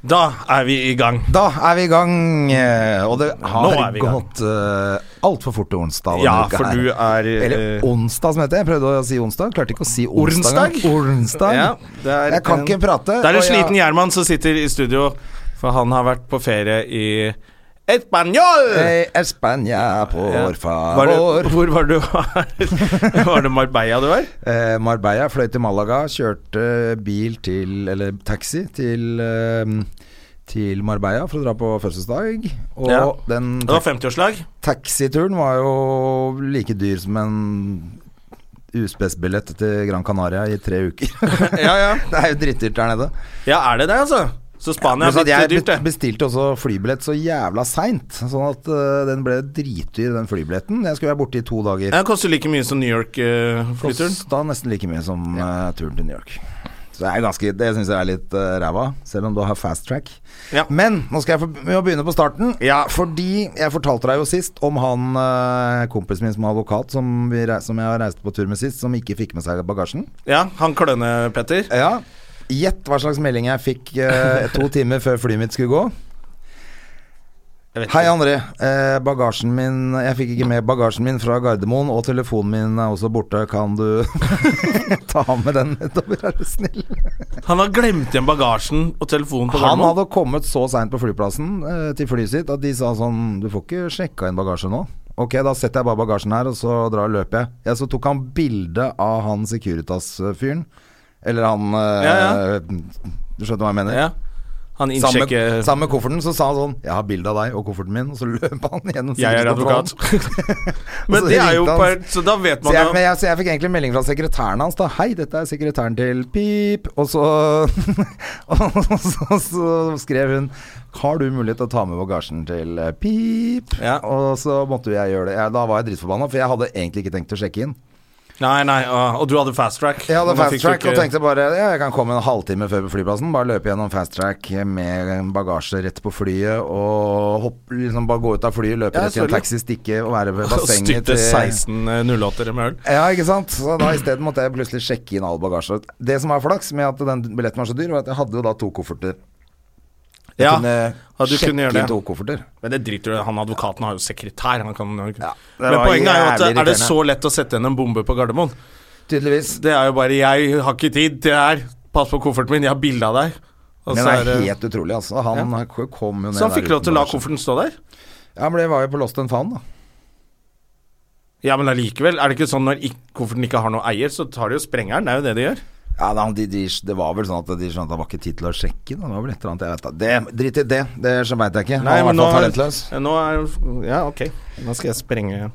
Da er vi i gang. Da Ah, er vi i gang, eh, og det Nå har er vi i gang. gått uh, altfor fort til onsdag. denne Ja, uka for her. du er eh, Eller onsdag, som heter det. Jeg prøvde å si onsdag, klarte ikke å si onsdag. Ornsdag? engang. Ornsdag. Ja, det er jeg kan en- ikke prate. Det er en og jeg- sliten Gjerman som sitter i studio, for han har vært på ferie i Español! Hey, España på Ja. vår Var det, favor. hvor var du var? var det Marbella du var? Eh, Marbella fløy til Malaga, kjørte bil til Eller taxi til eh, til Marbella for å dra på fødselsdag. Og Ja. den Det var 50-årslag. Taxituren var jo like dyr som en USBS-billett til Gran Canaria i tre uker. Ja, ja. Det er jo drittdyrt der nede. ja, er det det, altså? Så Spania Pluss er at jeg blitt dyrt, be- det. bestilte også flybillett så jævla seint, sånn at øh, den ble dritdyr, den flybilletten. Jeg skulle være borte i to dager. Den koster like mye som New eh, York-flyturen. Kosta nesten like mye som øh, turen til New York. Så det er ganske Det syns jeg er litt øh, ræva, selv om du har fast track. Ja. Men nå skal jeg få- vi må begynne på starten. Ja. Fordi jeg fortalte deg jo sist om han øh, kompisen min som er advokat, som, vi, rei- som jeg reiste på tur med sist, som ikke fikk med seg bagasjen. Ja, han Kløne-Petter. Ja. Gjett hva slags melding jeg fikk eh, to timer før flyet mitt skulle gå. Jeg vet Hei, ikke. André. Eh, bagasjen min Jeg fikk ikke med bagasjen min fra Gardermoen, og telefonen min er også borte. Kan du ta med den nedover, er du snill? Han har glemt igjen bagasjen og telefonen på Han Gardermoen. hadde kommet så seint på flyplassen eh, til flyet sitt at de sa sånn Du får ikke sjekka inn bagasje nå. Ok, da setter jeg bare bagasjen her, og så drar og løper jeg. Ja, så tok han bilde av han Securitas-fyren. Eller han eh, Ja, Du skjønner hva jeg mener? Ja. Han Sammen innsjekke med, sammen med kofferten så sa han sånn 'Jeg har bilde av deg og kofferten min', og så løp han gjennom Jeg er sikkerhetskontrollen. advokat. Men Og så det er jo ringte han. per, Så da vet Så man jeg, jo men jeg, så jeg fikk egentlig en melding fra sekretæren hans. da Hei, dette er sekretæren til Pip. Og så, og så, så skrev hun Har du mulighet til å ta med bagasjen til eh, Pip? Ja. Og så måtte jo jeg gjøre det. Jeg, da var jeg dritforbanna, for jeg hadde egentlig ikke tenkt å sjekke inn. Nei, nei, og, og du hadde fast track. Jeg hadde Men da fast fikk du track ikke- og tenkte bare ja, jeg kan komme en halvtime før på flyplassen. Bare løpe gjennom fast track med bagasje rett på flyet og hopp, liksom bare gå ut av flyet, løpe Ja, rett i en selvfølgelig. taxi, stikke og være ved Og bassenget styrte 16 eh, 08-ere med øl. Ja, ikke sant? Så da isteden måtte jeg plutselig sjekke inn all bagasje. Det som var flaks med at den billetten var så dyr, var at jeg hadde jo da to kofferter. Jeg Ja, kunne ja, du sjekke kunne gjøre inn det. to kofferter. Men det driter du i. Han advokaten har jo sekretær. Han kan, det Men var poenget er jo at jævlig er det irriterende. så lett å sette igjen en bombe på Gardermoen? Tydeligvis. Det er jo bare 'jeg har ikke tid til det her', pass på kofferten min, jeg har bilde av deg. Og Men så, det er, er det- helt utrolig, altså. Han kom jo ned så han der fikk lov til uten å la bagasje. kofferten stå der? Ja, men det var jo på Lost and Found, da. Ja, men allikevel. Er det ikke sånn når ikk- kofferten ikke har noen eier, så tar de jo sprengeren? Det er jo det de gjør. Ja, da, de, de, Det var vel sånn at de skjønte at det var ikke tid til å sjekke inn. Det var vel et eller annet, jeg vet da. Det, drit i det, det veit jeg ikke. Nei, han var i men hvert nå- fall talentløs. Ja, Nå er Ja, ok. Nå skal jeg sprenge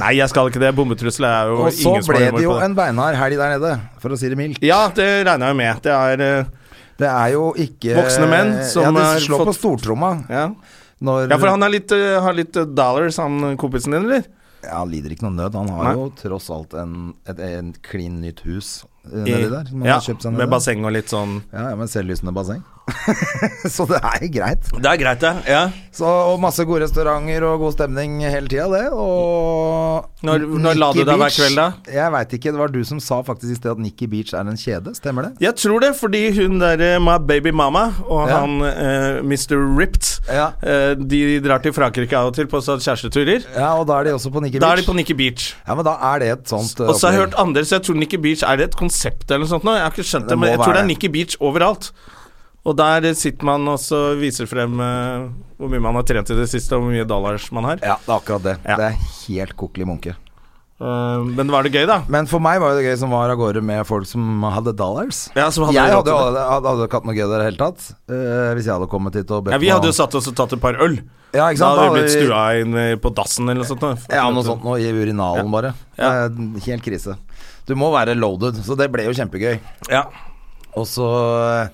Nei, jeg skal ikke det. Bombetrusler er jo Og så ingen som har ble humor det jo på det. en beinhard helg der nede, for å si det mildt. Ja, det regner jeg med. Det er eh, Det er jo ikke Voksne menn som ja, de har slår fått- på stortromma. ja. Når, ja, for han er litt, eh, har litt eh, dollars, han kompisen din, eller? Ja, han lider ikke noe nød. Han har Nei. jo tross alt en, et, en klin nytt hus eh, I- nedi der. som han ja, har kjøpt seg nedi med der. basseng og litt sånn Ja, ja, med selvlysende basseng. så det er jo greit. Det er greit, det. Ja. Så, og masse gode restauranter og god stemning hele tida, det. Og Når- når la du deg hver kveld, da? Jeg veit ikke. Det var du som sa faktisk i sted at Nikki Beach er en kjede. Stemmer det? Jeg tror det, fordi hun der eh, My Baby Mama og Ja. han eh, Mr. Ripped, Ja. eh, de drar til Frankrike av og til på sånn kjæresteturer. Ja, og da er de også på Nikki Da Beach. er de på Nikki Beach. Ja, men da er det et sånt eh, Og så har jeg opplegg. hørt andre, så jeg tror Nikki Beach Er det et konsept eller noe sånt nå? Jeg har ikke skjønt det, Det må men jeg tror være det er det. Nikki Beach overalt. Og der eh, sitter man og så viser frem eh, hvor mye man har trent i det siste, og hvor mye dollars man har. Ja, det er akkurat det. Ja. Det er helt kokkelig munke. Eh, men var det gøy, da? Men for meg var jo det gøy som var av gårde med folk som hadde dollars. Ja, som hadde råd jeg hadde til jo det. hadde, hadde ikke hatt noe gøy der i det hele tatt. eh, hvis jeg hadde kommet hit og bedt Ja, vi hadde meg jo satt oss og tatt et par øl. Ja, ikke sant? Da hadde vi Da blitt hadde vi- stua inn eh, på dassen eller noe sånt. da. ja, noe sånt noe i urinalen, bare. Ja. Eh, helt krise. Du må være loaded, så det ble jo kjempegøy. Ja. Og så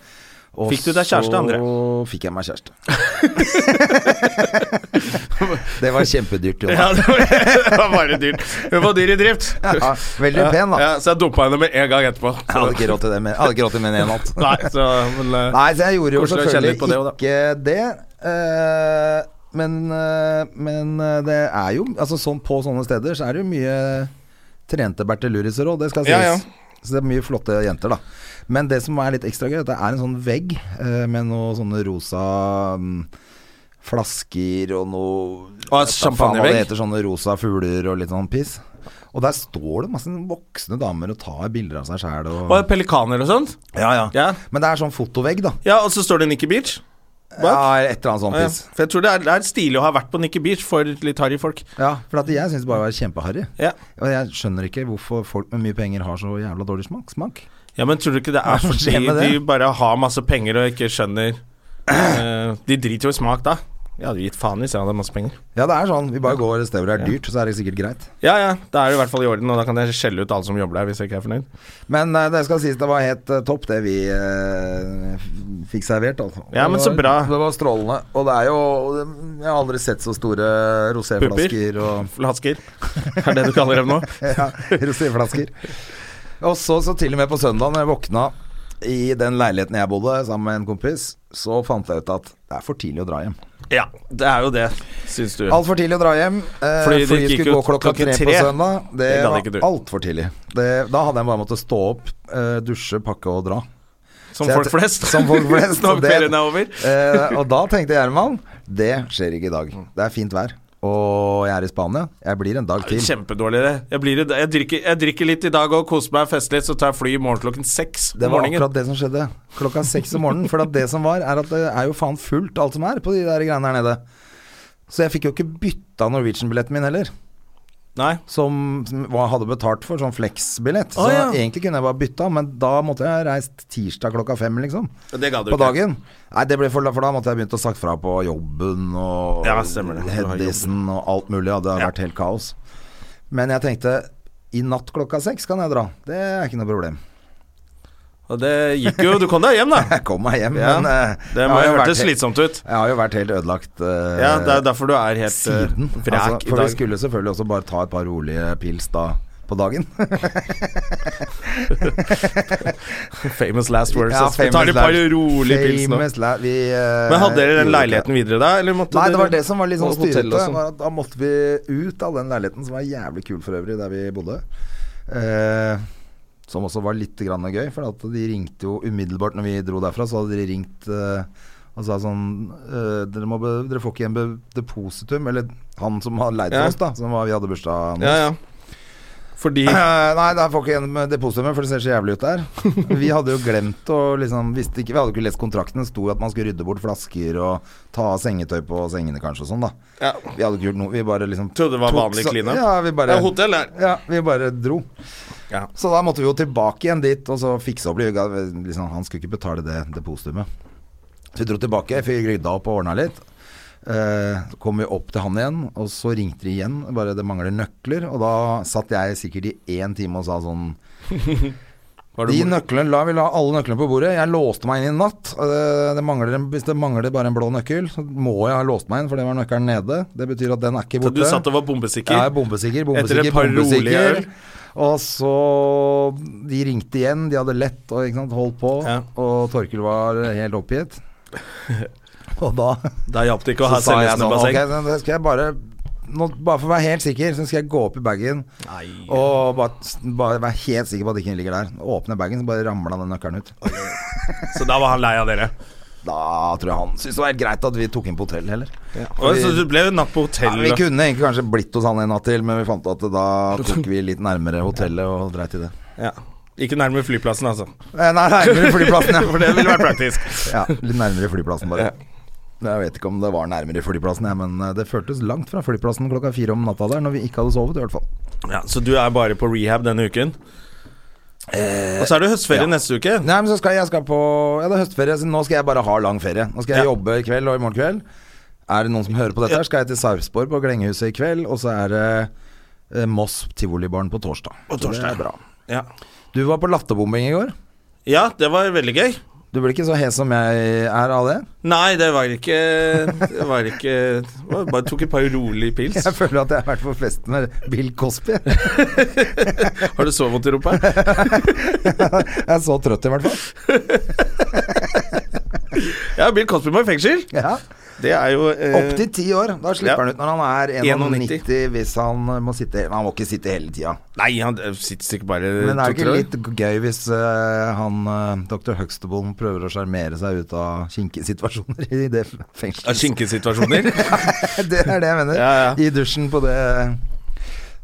Og Fikk du deg kjæreste, André? Så fikk jeg meg kjæreste. det var kjempedyrt, Jonas. Ja, det var, det var bare dyrt. Hun var dyr i drift. Ja, veldig pen, da. Ja, så jeg dumpa henne med en gang etterpå. Jeg hadde ikke råd til det med, jeg hadde ikke råd til mer enn en natt. Nei, så, men, eh, Nei, så jeg gjorde jo Koselig å kjenne selvfølgelig litt på det også, da. ikke det. eh, men, eh, men eh, det er jo Altså sånn på sånne steder så er det jo mye trente berteluriser òg, det skal sies. Ja, ja. Så det er mye flotte jenter, da. Men det som er litt ekstra gøy, er at det er en sånn vegg eh, med noen sånne rosa mm, flasker og noe Og en Jeg vet da faen hva champagnevegg. Det heter sånne rosa fugler og litt sånn piss. Og der står det masse voksne damer og tar bilder av seg sjæl og og pelikaner og sånt. ja, ja. Ja. Men det er sånn fotovegg, da. ja, og så står det Nikki Beach. Bak. Ah, Ja, et eller annet sånt Ja, piss. for jeg tror det er, det er stilig å ha vært på Nikki Beach for litt harry folk. Ja, for at jeg syns det bare var kjempeharry. Ja. Og jeg skjønner ikke hvorfor folk med mye penger har så jævla dårlig smak. smak. ja, men tror du ikke det er Hva skjer fordi med det? de bare har masse penger og ikke skjønner eh, De driter jo i smak da. Jeg hadde gitt faen hvis jeg hadde masse penger. Ja, det er sånn. Vi bare går et sted hvor det er dyrt, så er det sikkert greit. Ja ja, da er det i hvert fall i orden, og da kan jeg skjelle ut alle som jobber der hvis jeg ikke er fornøyd. Men eh, det skal sies det var helt eh, topp, det vi eh, f- fikk servert. Altså. Ja, men det så var, bra. Det var strålende. Og det er jo Jeg har aldri sett så store roséflasker og Flasker. Er det du kaller dem nå? ja, roséflasker. Og så, så til og med på søndag når jeg våkna i den leiligheten jeg bodde sammen med en kompis, så fant jeg ut at det er for tidlig å dra hjem. Ja, det er jo det, syns du. Altfor tidlig å dra hjem. Eh, Fordi Fordi det flyet gikk skulle jo gå klokka klokken tre på tre. søndag. Det, Det gadd ikke du. var altfor tidlig. Det, da hadde jeg bare måttet stå opp, eh, dusje, pakke og dra. Som Så jeg folk t- flest. Som folk flest Når og det- ferien er over. Eh, og da tenkte Gjerman det skjer ikke i dag. Det er fint vær. Og jeg er i Spania. Jeg blir en dag til. Kjempedårlig det. Jeg, blir, jeg, drikker, jeg drikker litt i dag og koser meg og fester litt, så tar jeg fly i morgen klokken seks Det om var morgenen. akkurat det som skjedde klokka seks om morgenen. For at det som var, er at det er jo faen fullt alt som er på de der greiene her nede. Så jeg fikk jo ikke bytta Norwegian-billetten min heller. Nei. som, som var- hadde betalt for, sånn flex-billett. Å, så ja. egentlig kunne jeg bare bytta, men da måtte jeg reist tirsdag klokka fem, liksom. Det ga du ikke. På dagen. Nei, det ble for, for da måtte jeg begynt å sagt fra på jobben og Ja, stemmer det. Du har Hedisen og alt mulig. Ja, det har Ja. vært helt kaos. Men jeg tenkte i natt klokka seks kan jeg dra. Det er ikke noe problem. Og det gikk jo. Du kom deg hjem, da. Jeg kom meg hjem, Ja, men eh, Det jeg må har jo jo vært hørtes he- slitsomt ut. Jeg har jo vært helt ødelagt eh, Ja, det er derfor du er helt eh, siden. vrak Altså, i for vi dag. skulle selvfølgelig også bare ta et par rolige pils da på dagen. Famous last words. Ja, ass. vi tar famous et par la- rolige pils nå. famous la- vi, eh, Men hadde dere den gjorde leiligheten ikke videre da, eller måtte Nei, det var dere- det som var litt sånn Og hotell styrete. og sånn. var at Da måtte vi ut av den leiligheten, som var jævlig kul for øvrig, der vi bodde. Eh, som også var litt grann gøy, for at de ringte jo umiddelbart når vi dro derfra, så hadde de ringt eh, og sa sånn eh, dere, må be, 'Dere får ikke igjen be- depositum.' Eller han som hadde leid for Ja. oss, da, som var, vi hadde bursdag nå. Ja, ja. Fordi Eh, nei, det er folk igjen med depositumet, for det ser så jævlig ut der. Vi hadde jo glemt å liksom visste ikke, Vi hadde jo ikke lest kontrakten. Det sto at man skulle rydde bort flasker og ta av sengetøy på sengene, kanskje, og sånn, da. ja. Vi hadde ikke gjort noe. Vi bare liksom Trodde det var tok vanlig så- cleanup. Ja, vi Det bare er hotell her. ja, vi bare dro. Ja. Så da måtte vi jo tilbake igjen dit og så fikse opp litt. Liksom, han skulle ikke betale det depositumet. Så vi dro tilbake, fikk rydda opp og ordna litt. Eh, Så kom vi opp til han igjen, og så ringte de igjen. Bare det mangler nøkler. Og da satt jeg sikkert i én time og sa sånn Var De du bort- nøklene, la, vi la alle nøklene på bordet. Jeg låste meg inn i natt. Eh, Det mangler en, hvis det mangler bare en blå nøkkel, så må jeg ha låst meg inn, for det var nøkkelen nede. Det betyr at den er ikke Så borte. du satt og var bombesikker? Ja, jeg er bombesikker, bombesikker, Etter et par rolige bombesikker. øl. Og så De ringte igjen, de hadde lett og ikke sant, holdt på. Ja. Og Torkil var helt oppgitt. Og da Da hjalp det ikke å så ha sa jeg sånn SMS-basseng. Ok, så da skal jeg bare nå, Bare for å være helt sikker, så skal jeg gå opp i bagen Nei. og bare, bare være helt sikker på at ikke den ligger der. Åpne bagen, så bare ramla den nøkkelen ut. Så da var han lei av dere. Da tror jeg han syntes det var helt greit at vi tok inn på hotell, heller. Og Så du ble jo natt på Ja, hotell. vi kunne egentlig kanskje blitt hos han en natt til, men vi fant ut at da tok vi litt nærmere hotellet og dreit i det. Ja. Ikke nærmere flyplassen, altså. Eh, Nei, nærmere flyplassen, ja. For det ville vært praktisk. ja. Litt nærmere flyplassen, bare. Jeg vet ikke om det var nærmere flyplassen, jeg, men eh, det føltes langt fra flyplassen klokka fire om natta der, når vi ikke hadde sovet, i hvert fall. Ja, så du er bare på rehab denne uken? Eh, og så er det høstferie neste uke. Nei, men så skal jeg skal på Ja, det er høstferie, så nå skal jeg bare ha lang ferie. Nå skal jeg Ja. jobbe i kveld og i morgen kveld. Er det noen som hører på dette, Ja. her, skal jeg til Sarpsborg på Glengehuset i kveld, og så er det eh, Moss tivolibarn på torsdag. På Så det er torsdag. bra. Ja. Du var på latterbombing i går. ja, det var veldig gøy. Du blir ikke så hes som jeg er av det. Nei, det var ikke Det var ikke det var Bare tok et par rolige pils. Jeg føler at jeg har vært på fest med Bill Cosby. Har du så vondt i rumpa? Jeg er så trøtt, i hvert fall. Ja, Bill Cosby må i fengsel. Ja. Det er jo eh, Opp til ti år. Da slipper ja. han ut når han er 91. 91 hvis han må sitte Han må ikke sitte hele tida. Nei, han eh, sitter sikkert bare Men er to-tre det ikke år. litt gøy hvis eh, han eh, dr. Huxtable prøver å sjarmere seg ut av kinkige situasjoner i det Ja, fengselet? Skinkesituasjoner. det er det jeg mener. Ja, ja. I dusjen på det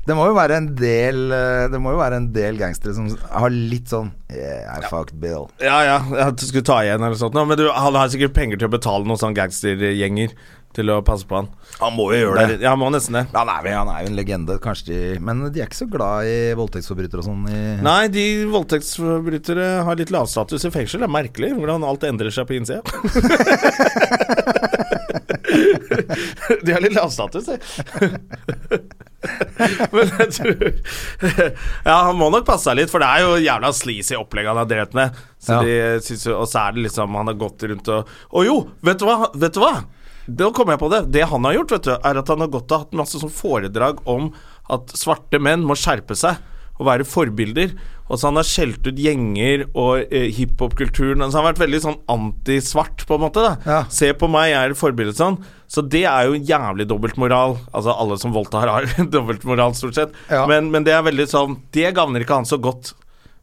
Det må jo være en del eh, Det må jo være en del gangstere som har litt sånn Yeah, I fucked Bill. Ja, ja, at du skulle ta igjen eller sånt. nå, Men du, han har sikkert penger til å betale noen sånne gangstergjenger til å passe på han. Han må jo Der, ja, han må nesten det. Han er, vel- han er jo en legende, kanskje de Men de er ikke så glad i voldtektsforbrytere og sånn. i- Nei, de voldtektsforbrytere har litt lav status i fengsel. Det er merkelig hvordan alt endrer seg på innsida. de har litt lav status, de. Men jeg tror Ja, han må nok passe seg litt, for det er jo jævla sleazy opplegg han har drevet med. Så Ja. de synes jo, Og så er det liksom Han har gått rundt og Å jo, vet du hva? Vet du hva? Da kom jeg på det. Det han har gjort, vet du, er at han har gått og hatt masse sånn foredrag om at svarte menn må skjerpe seg og være forbilder. Og så han har skjelt ut gjenger og eh, hiphop-kulturen. Altså han har vært veldig sånn antisvart, på en måte. da Ja. Se på meg, jeg er et forbilde sånn. Så det er jo jævlig dobbeltmoral. Altså, alle som voldtar har dobbeltmoral, stort sett. Ja. Men, men det er veldig sånn Det gagner ikke han så godt.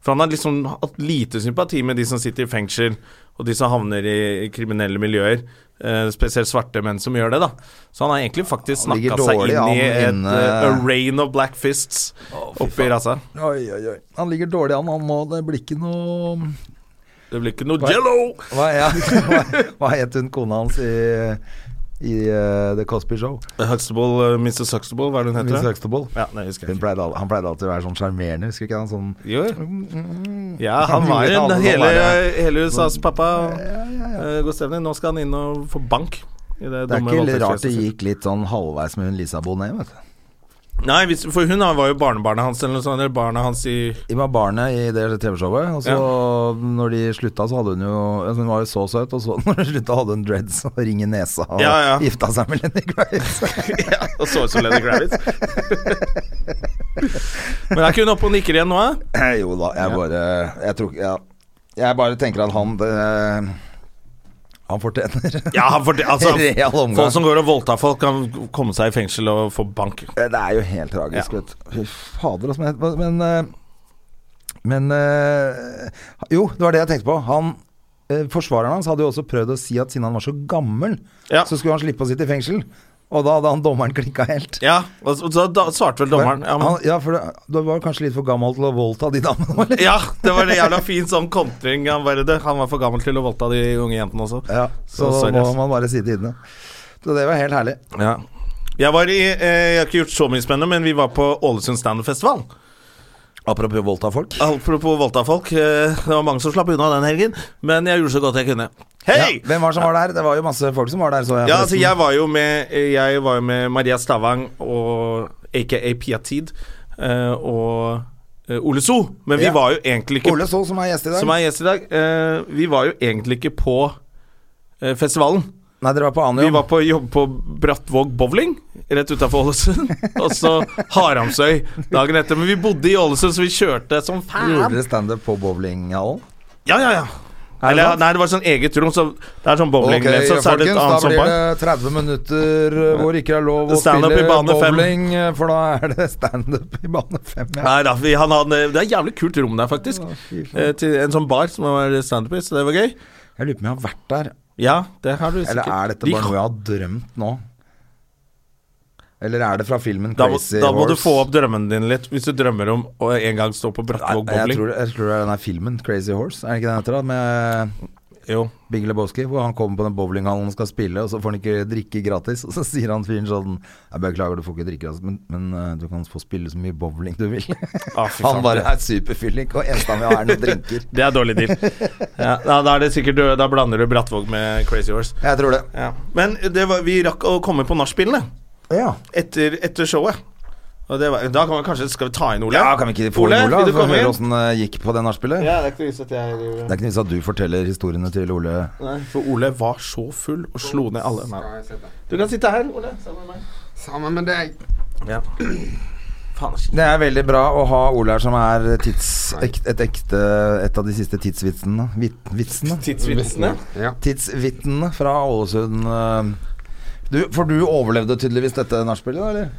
For han har liksom hatt lite sympati med de som sitter i fengsel, og de som havner i kriminelle miljøer. Eh, spesielt svarte menn som gjør det, da. Så han har egentlig faktisk Han ligger snakka seg dårlig inn an i et inne- eh, a rain of black fists oppi rassa. Oi, oi, oi. Han ligger dårlig an. Han må, det blir ikke noe Det blir ikke noe jello! Hva, ja, hva, hva het hun kona hans i, i eh, The Cosby Show? Huxtable, eh, Mrs. Huxtable, hva er det hun Miss heter? Huxtable. Ja, nei, husker jeg Hun ikke. pleide, al- han pleide alltid å være sånn sjarmerende, husker ikke han? Sånn Jo. Ja, han var jo gjorde alle som hele, var hele USAs pappa. Eh, God stemning. Nå skal han inn og få bank. I det, Det er dumme ikke litt rart det voldtektsfjeset sitt. gikk litt sånn halvveis med hun Lisa Bonet, vet du. Nei, hvis, for hun var jo barnebarnet hans, eller noe sånt. Eller barna hans i De var barnet i det TV-showet, og så når de slutta, så hadde hun jo altså, Hun var jo så søt, og så når hun slutta, hadde hun dreads og ring i nesa og Ja, ja. gifta seg med Lenny Grace. Ja, og så ut som Lenny Kravitz. Men er ikke hun oppe og nikker igjen nå, eh? jo da, jeg bare Jeg tror ikke ja. Jeg bare tenker at han det, Han fortjener Ja, han forte- altså, Real omgang. folk som går og voldtar folk, kan komme seg i fengsel og få bank. Det er jo helt tragisk, Ja. vet du. Fy fader, altså. men- Men eh, Men eh, Jo, det var det jeg tenkte på. Han eh, Forsvareren hans hadde jo også prøvd å si at siden han var så gammel, Ja. så skulle han slippe å sitte i fengsel. Og da hadde han dommeren klikka helt. Ja, og så da, da svarte vel dommeren. Ja, han, men, ja, for det- du var kanskje litt for gammel til å voldta de damene? eller? ja, det var en jævla fin sånn kontring. Han, bare, det, han var for gammel til å voldta de unge jentene også. Ja, Så så, sorry, må ass. man bare si det inne. Så det var helt herlig. Ja. Jeg var i eh, Jeg har ikke gjort så mye spennende, men vi var på Ålesund standup-festival. Apropos voldta folk. Apropos voldtafolk. Eh, det var mange som slapp unna den helgen, men jeg gjorde så godt jeg kunne. Hei! Ja, hvem var det som var der? Det var jo masse folk som var der, så jeg. Ja, altså forresten. jeg var jo med Jeg var jo med Maria Stavang og aka Pia Tid eh, og eh, Ole So. Men vi Ja. var jo egentlig ikke Ole Sol, som er gjest i dag. Som er gjest i dag. eh, vi var jo egentlig ikke på eh, festivalen. Nei, dere var på Anjo. Vi var på jobb på Brattvåg bowling, rett utafor Ålesund. og så Haramsøy dagen etter. Men vi bodde i Ålesund, så vi kjørte som Gjorde faen. dere standup på bowlinghallen? Ja, ja, ja. Er det Eller, sant? nei, det var sånn eget rom. Så det er sånn bowling Ok, så, så er det et folkens, da annet sånn blir bar. det 30 minutter eh, hvor ikke det er lov å Stand-up i spille bane fem. bowling, eh, for da er det standup i bane fem. Ja. Nei da, vi, han hadde, det er et jævlig kult rom der, faktisk. fy faen. Eh, til en sånn bar som var standup i, så det var gøy. Jeg lurer på om jeg har vært der, Ja, det har du sikkert. eller er dette De- bare noe jeg har drømt nå? Eller er det fra filmen da må, Crazy da må Horse? du få opp drømmene dine litt, hvis du drømmer om å en gang stå på Brattvåg Nei, jeg, bowling. tror, det- jeg tror det er den her filmen, Crazy Horse, er det ikke den heter da? Med Jo. Big Lebowski, hvor han kommer på den bowlinghallen og skal spille, og så får han ikke drikke gratis, og så sier han fyren sånn Jeg beklager, du får ikke drikke gratis, men, men eh, du kan få spille så mye bowling du vil. Ah, fy Han faen. bare er superfyllik, og eneste han vil ha er noen drinker. Det er dårlig deal. Ja, da, da, er det sikkert, da blander du Brattvåg med Crazy Horse. Jeg tror det. Ja. Men det var, vi rakk å komme på nachspielene Ja. etter, etter showet. Og det var, da kan vi kanskje Skal vi ta inn Ole? Ja, kan vi ikke få Ole, inn Ola? vil du Få komme høre inn? åssen det gikk på det nachspielet? Ja, det er ikke noe vits at jeg Det er ikke noe vits at du forteller historiene til Ole. Nei, For Ole var så full og slo ned alle. Nei. Du kan sitte her, Ole. Sammen med meg. Sammen med deg. Ja. Faen, ass. Det er veldig bra å ha Ole her, som er tids, ek, et ekte Et av de siste tidsvitsene. Vit, vitsene? Tidsvitsene. Ja. Tidsvitnene fra Ålesund. eh. Du, for du overlevde tydeligvis dette nachspielet, da, eller?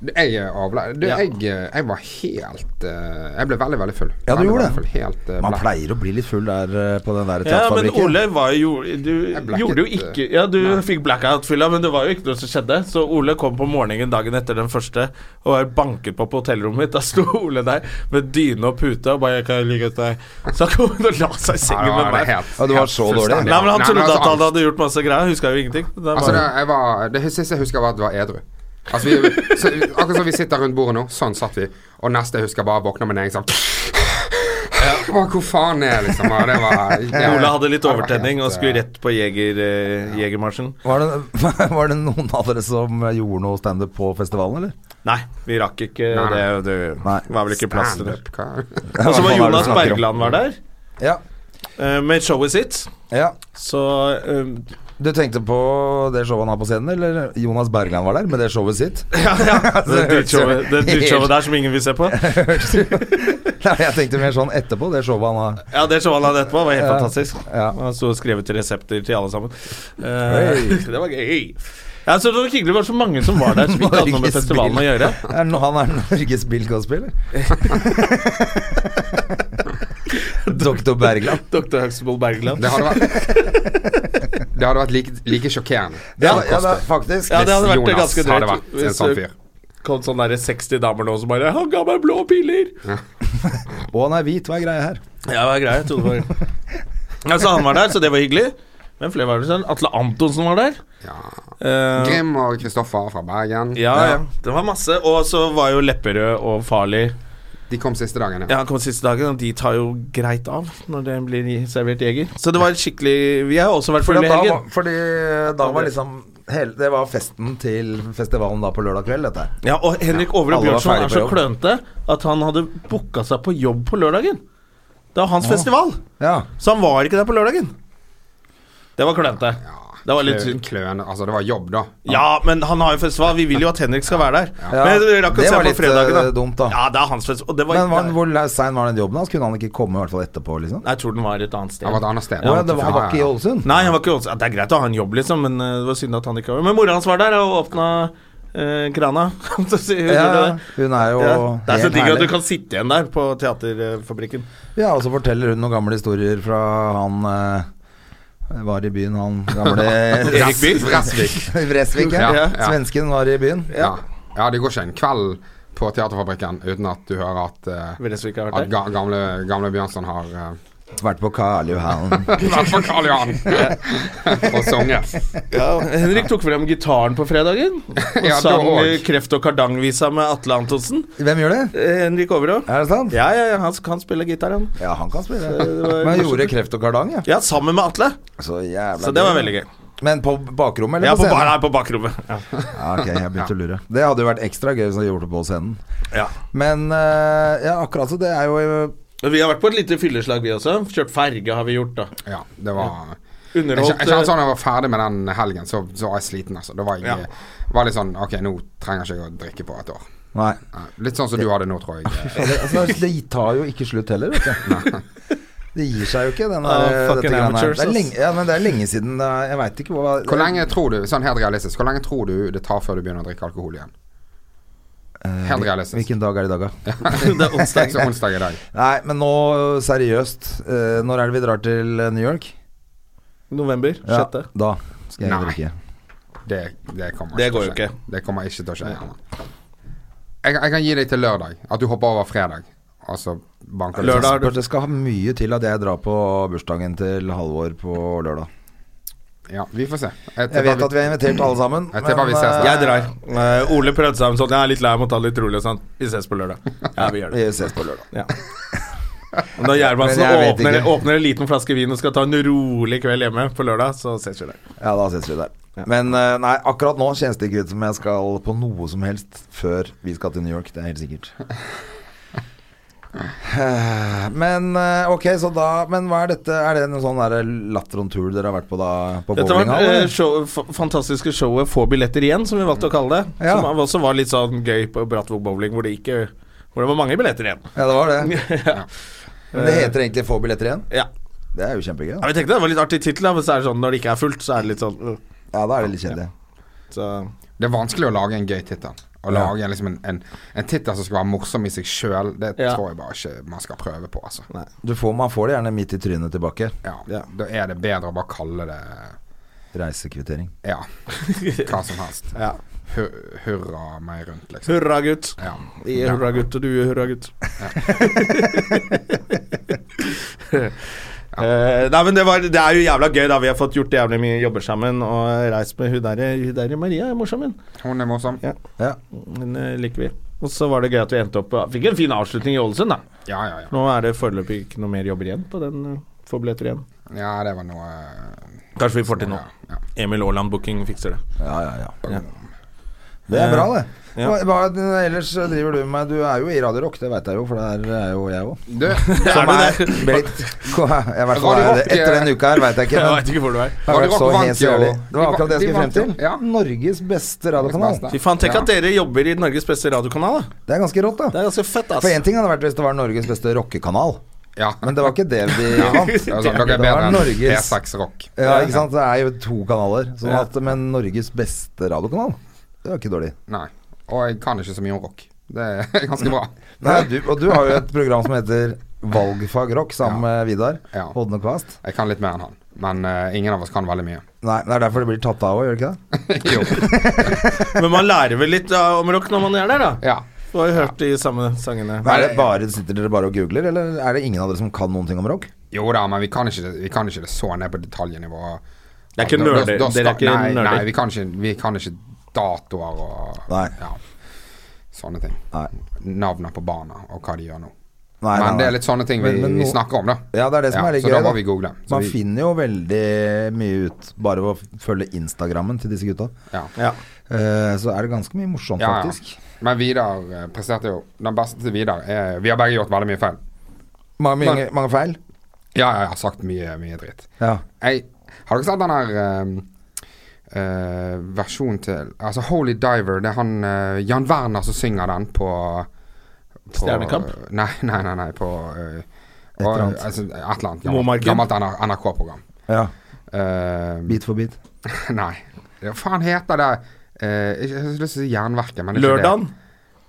Jeg eh, avla... Du, Ja. jeg, eh, jeg var helt eh, Jeg ble veldig, veldig full. Ja, du Veldig, gjorde veldig det. full. Helt eh, Man blek. pleier å bli litt full der eh, på den Ja, der men teaterfabrikken. Ole var jo Du Jeg eh, blackout, gjorde jo ikke Ja, du fikk blackout-fylla, men det var jo ikke noe som skjedde. Så Ole kom på morgenen dagen etter den første og var banket på på hotellrommet mitt. Da sto Ole der med dyne og pute og bare 'Kan jeg ligge hos deg?' Så han kom og la seg i Ja, sengen det med var meg. helt- Ja, du var så helt dårlig. fullstendig. Nei, men Han Nei, men trodde altså, at han alt- hadde gjort masse greier. Jeg Huska jo ingenting. Det var- Altså, det, jeg var, det siste jeg husker, var at det var edru. Altså, vi, så, akkurat som vi sitter rundt bordet nå, sånn satt vi. Og neste jeg husker, bare våkna med en egen sånn Hva, Hvor faen er jeg, liksom? Og det var det, Ole hadde litt det var overtenning helt, og skulle eh, rett på jeger, eh, Jegermarsjen. Var det, var det noen av dere som gjorde noe standup på festivalen, eller? Nei, vi rakk ikke Nei, nei. det. Det Nei. var vel ikke plass til det. stand-up, hva? Og så var Hva faen er det du Jonas snakker om? Bergland var der Ja. eh, med showet sitt. ja. Så eh, Du tenkte på det showet han har på scenen, eller Jonas Bergland var der med det showet sitt? Ja, ja. Det drittshowet det drittshowet der som ingen vil se på. Nei, jeg tenkte mer sånn etterpå, det showet han har. Ja, Det showet han hadde etterpå, var helt Ja. fantastisk. Ja. Han sto og skrev ut resepter til alle sammen. Eh, det var gøy. Ja, så det var hyggelig det var så mange som var der, som ikke hadde noe med Norges festivalen å Bill. gjøre. Er no- Han er Norges Bill Cosby, eller? Doktor Bergland. Dr. Huxtable Bergland. Det hadde vært Det hadde vært like, like sjokkerende. Ja, som ja da, Cosby. faktisk. Ja, det hadde vært Jonas ganske hadde drøyt vært en sånn fyr. kom sånn derre 60 damer nå som bare 'Han ga meg blå piller'. Å, han er hvit, hva er greia her? Ja, det var greit. Jeg trodde det var Ja, Så han var der, så det var hyggelig. Men flere var det sånn. Atle Antonsen var der. Ja. Eh, Grim og Kristoffer fra Bergen. ja, ja. Det var masse. Og så var jo Lepperød og Farlig De kom siste dagen, ja. Ja, han kom siste dagen, og de tar jo greit av når det blir servert jeger. Så det var skikkelig Vi har også vært Fordi fulle i da, helgen. var- fordi da var liksom hele, Det var festen til festivalen da på lørdag kveld, dette her. Ja, og Henrik alle Overø var Bjørnson ferdig er på så jobb. klønete at han hadde booka seg på jobb på lørdagen. Det var hans festival, Ja. så han var ikke der på lørdagen. Det var klønete. Det var litt Klø- synd. Kløende. Altså, det var jobb, da. Ja, men han har jo festival. Vi vil jo at Henrik skal være der. Ja, Men jeg rakk å det se på var litt, fredagen, eh, dumt, da. Ja, det er hans festival. Og det var, Men var, han- hvor sein var den jobben hans? Kunne han ikke komme i hvert fall etterpå, liksom? Nei, jeg tror den var et annet sted. Han var et annet sted. Å, ja, det var, han var ikke i Ålesund? Nei, han var ikke ja, Det er greit å ha en jobb, liksom, men eh, det var synd at han ikke var Men mora hans var der og åpna eh, krana. Så sier hun det Ja, der. hun er jo Ja. Det er så helt digg at du herlig. kan sitte igjen der på Teaterfabrikken. Ja, og så forteller hun noen gamle historier fra han eh, var i byen, han gamle Erik Bye. Vresvik. Vresvik, ja. Ja, ja. Svensken var i byen. Ja. ja, det går ikke en kveld på Teaterfabrikken uten at du hører at, eh, Vresvik har at vært der. ga gamle, gamle Bjørnson har eh, Vært på Karl Johan. vært på Karl Johan og sunget. Henrik tok frem gitaren på fredagen og Ja, det sang var- eh, Kreft og kardang-visa med Atle Antonsen. Hvem gjør det? Eh, Henrik Overå. Er det sant? Ja, ja, ja, han s- kan spille gitar, han. Ja, han kan spille. det var- Men han gjorde Kreft og Kardang, ja. Ja, sammen med Atle. Så jævla Så det var veldig gøy. Men på bakrommet, Ja, eller på, på ba- scenen? nei, på bakrommet. Ja. Ja, ok, jeg begynte å lure. Det hadde jo vært ekstra gøy hvis han gjorde det på scenen. Ja. Men eh, ja, akkurat så. Det er jo eh, Men Vi har vært på et lite fylleslag, vi også. Kjørt ferge har vi gjort, da. Ja, det var jeg Underholdt eh, kjen- jeg kjenner sånn at jeg var ferdig med den helgen, så, så var jeg sliten, altså. Det var, jeg, Ja. var litt sånn Ok, nå trenger jeg ikke å drikke på et år. Nei. Nei, Litt sånn som du hadde nå, tror jeg. Fader, Altså, det tar jo ikke slutt heller, vet du. Det gir seg jo ikke, den der, eh, Ah, fucking dette greiene her. amateurs, Det er ass. lenge, ja, men det er lenge siden det er- Jeg veit ikke hva Hvor lenge tror du Sånn helt realistisk Hvor lenge tror du det tar før du begynner å drikke alkohol igjen? Helt realistisk. Eh, Hvilken dag er det i dag, da? det er onsdag. Så onsdag i dag. Nei, men nå seriøst. eh, Når er det vi drar til eh, New York? November. Ja, Sjette. da skal jeg Nei. drikke. Det, det kommer Det ikke går til jo å skje. ikke. Det kommer ikke til å skje. Herman. Jeg, jeg kan gi deg til lørdag. At du hopper over fredag. Og så banker sånn. du Lørdag. har du- Spørs, Det skal ha mye til at jeg drar på bursdagen til Halvor på lørdag. Ja, vi får se. Jeg Jeg vet at vi er invitert alle sammen. Jeg tipper vi ses da. eh, Jeg drar. Eh, Ole prøvde seg om sånn Jeg er litt lei av å ta litt rolig og sånn. Vi ses på lørdag. Ja, vi gjør det. Vi ses på lørdag. Ja. Men da Gjermansen Men jeg vet åpner, ikke. åpner en liten flaske vin og skal ta en rolig kveld hjemme på lørdag, så ses vi der. Ja, da ses vi der. Men eh, nei, akkurat nå kjennes det ikke ut som jeg skal på noe som helst før vi skal til New York. Det er helt sikkert. Eh, Men eh, ok, så da Men hva er dette? Er det en sånn der Latron-tour dere har vært på da? På Dette var eh, bowlinghallen, det eller? show, f- fantastiske showet Få billetter igjen, som vi valgte å kalle det. Ja. Som også var litt sånn gøy på Brattvåg bowling, hvor det ikke Hvor det var mange billetter igjen. Ja, det var det. ja. Men det heter egentlig Få billetter igjen. ja. Det er jo kjempegøy. Ja, Da. Vi tenkte det var litt artig tittel, da, men så er det sånn når det ikke er fullt, så er det litt sånn øh, Ja, da er det litt kjedelig. så. Det er vanskelig å lage en gøy tittel. Å lage en, liksom en, en, en tittel som skal være morsom i seg sjøl, det Ja. tror jeg bare ikke man skal prøve på, altså. Du får, man får det gjerne midt i trynet tilbake. Ja. Ja. Da er det bedre å bare kalle det Reisekvittering. ja, hva som helst. Ja. Hu- Hurra meg rundt, liksom. Hurra, gutt. Ja. Vi er hurra, gutt, og du er hurra, gutt. Eh, nei, men det, var, det er jo jævla gøy, da. Vi har fått gjort jævlig mye jobber sammen. Og reist med hun derre hun derre Maria er morsom, hun. Hun er morsom. Ja. Ja. Den eh, liker vi. Og så var det gøy at vi endte opp Fikk en fin avslutning i Ålesund, da. Ja, ja, ja. Nå er det foreløpig ikke noe mer jobber igjen på den. eh, Få billetter igjen. Ja, det var noe Kanskje vi får til ja, noe. ja. Emil Aaland Booking fikser det. Ja, ja, ja. Det er bra, det. Ja. Hva, hva ellers driver du med? Du er jo i Radio Rock, det veit jeg jo, for der er jo jeg òg. Du, Er Som du er det? blitt Jeg vet Radio hva- Rock, Etter den uka her veit jeg ikke. Jeg Men veit ikke hvor du er. det Radio har vært så Rock vant helt jo- jævlig. Det de var vant- akkurat det jeg de skulle frem vant jo, til. ja. Norges beste radiokanal. beste. Fy faen, tenk Ja. at dere jobber i Norges beste radiokanal, da. Det er ganske rått, Det da. er ganske fett, ass. For én ting hadde vært hvis det var Norges beste rockekanal, ja. men det var ikke det vi vant. Det var sånn, Dere er Det var bedre enn Norges- P6 Rock. Ja, ikke sant. Det er jo to kanaler. Sånn Ja. at, men Norges beste radiokanal, det var ikke dårlig. Nei. Og jeg kan ikke så mye om rock. Det er ganske bra. Nei, du, og du har jo et program som heter Valgfag rock sammen med Vidar Ja. Hodne Kvast. Jeg kan litt mer enn han, men eh, ingen av oss kan veldig mye. Nei, det er derfor det blir tatt av òg, gjør det ikke det? jo. Men man lærer vel litt da, om rock når man er der, da. Ja. Du har jo hørt de samme sangene. Men er det bare, sitter dere bare og googler, eller er det ingen av dere som kan noen ting om rock? Jo da, men vi kan ikke, det- vi kan ikke det så ned på detaljnivå. Det er ikke Da- da- nerder. da Dere er sta- ikke nei, nerder. Nei, vi kan ikke, vi kan ikke datoer og Nei. Ja, sånne ting. Nei. Navnene på barna og hva de gjør nå. Nei, men nei, det er nei. litt sånne ting vi, Men- men vi nå- snakker om, da. Ja, det er det som er litt så gøy. da må da. vi google. Så Man vi, finner jo veldig mye ut bare ved å følge Instagrammen til disse gutta. ja. Ja. Eh, så er det ganske mye morsomt, Ja, ja. faktisk. Men Vidar eh, presterte jo Den beste til Vidar er Vi har begge gjort veldig mye feil. Mange, mange, mange feil. Ja, ja, jeg har sagt mye, mye dritt. Ja. Jeg, har dere sett den her eh, eh, versjonen til Altså Holy Diver, det er han eh, Jan Werner som synger den på, på Stjernekamp? Nei, nei, nei, nei på eh, Et eller og- annet. altså, et eller annet Momarken? gammelt, gammelt NRK-program. ja. Eh, Bit for bit. nei. Hva faen heter det? Eh, ikke- jeg har så lyst til å si Jernverket, men det er ikke Lørdagen. det.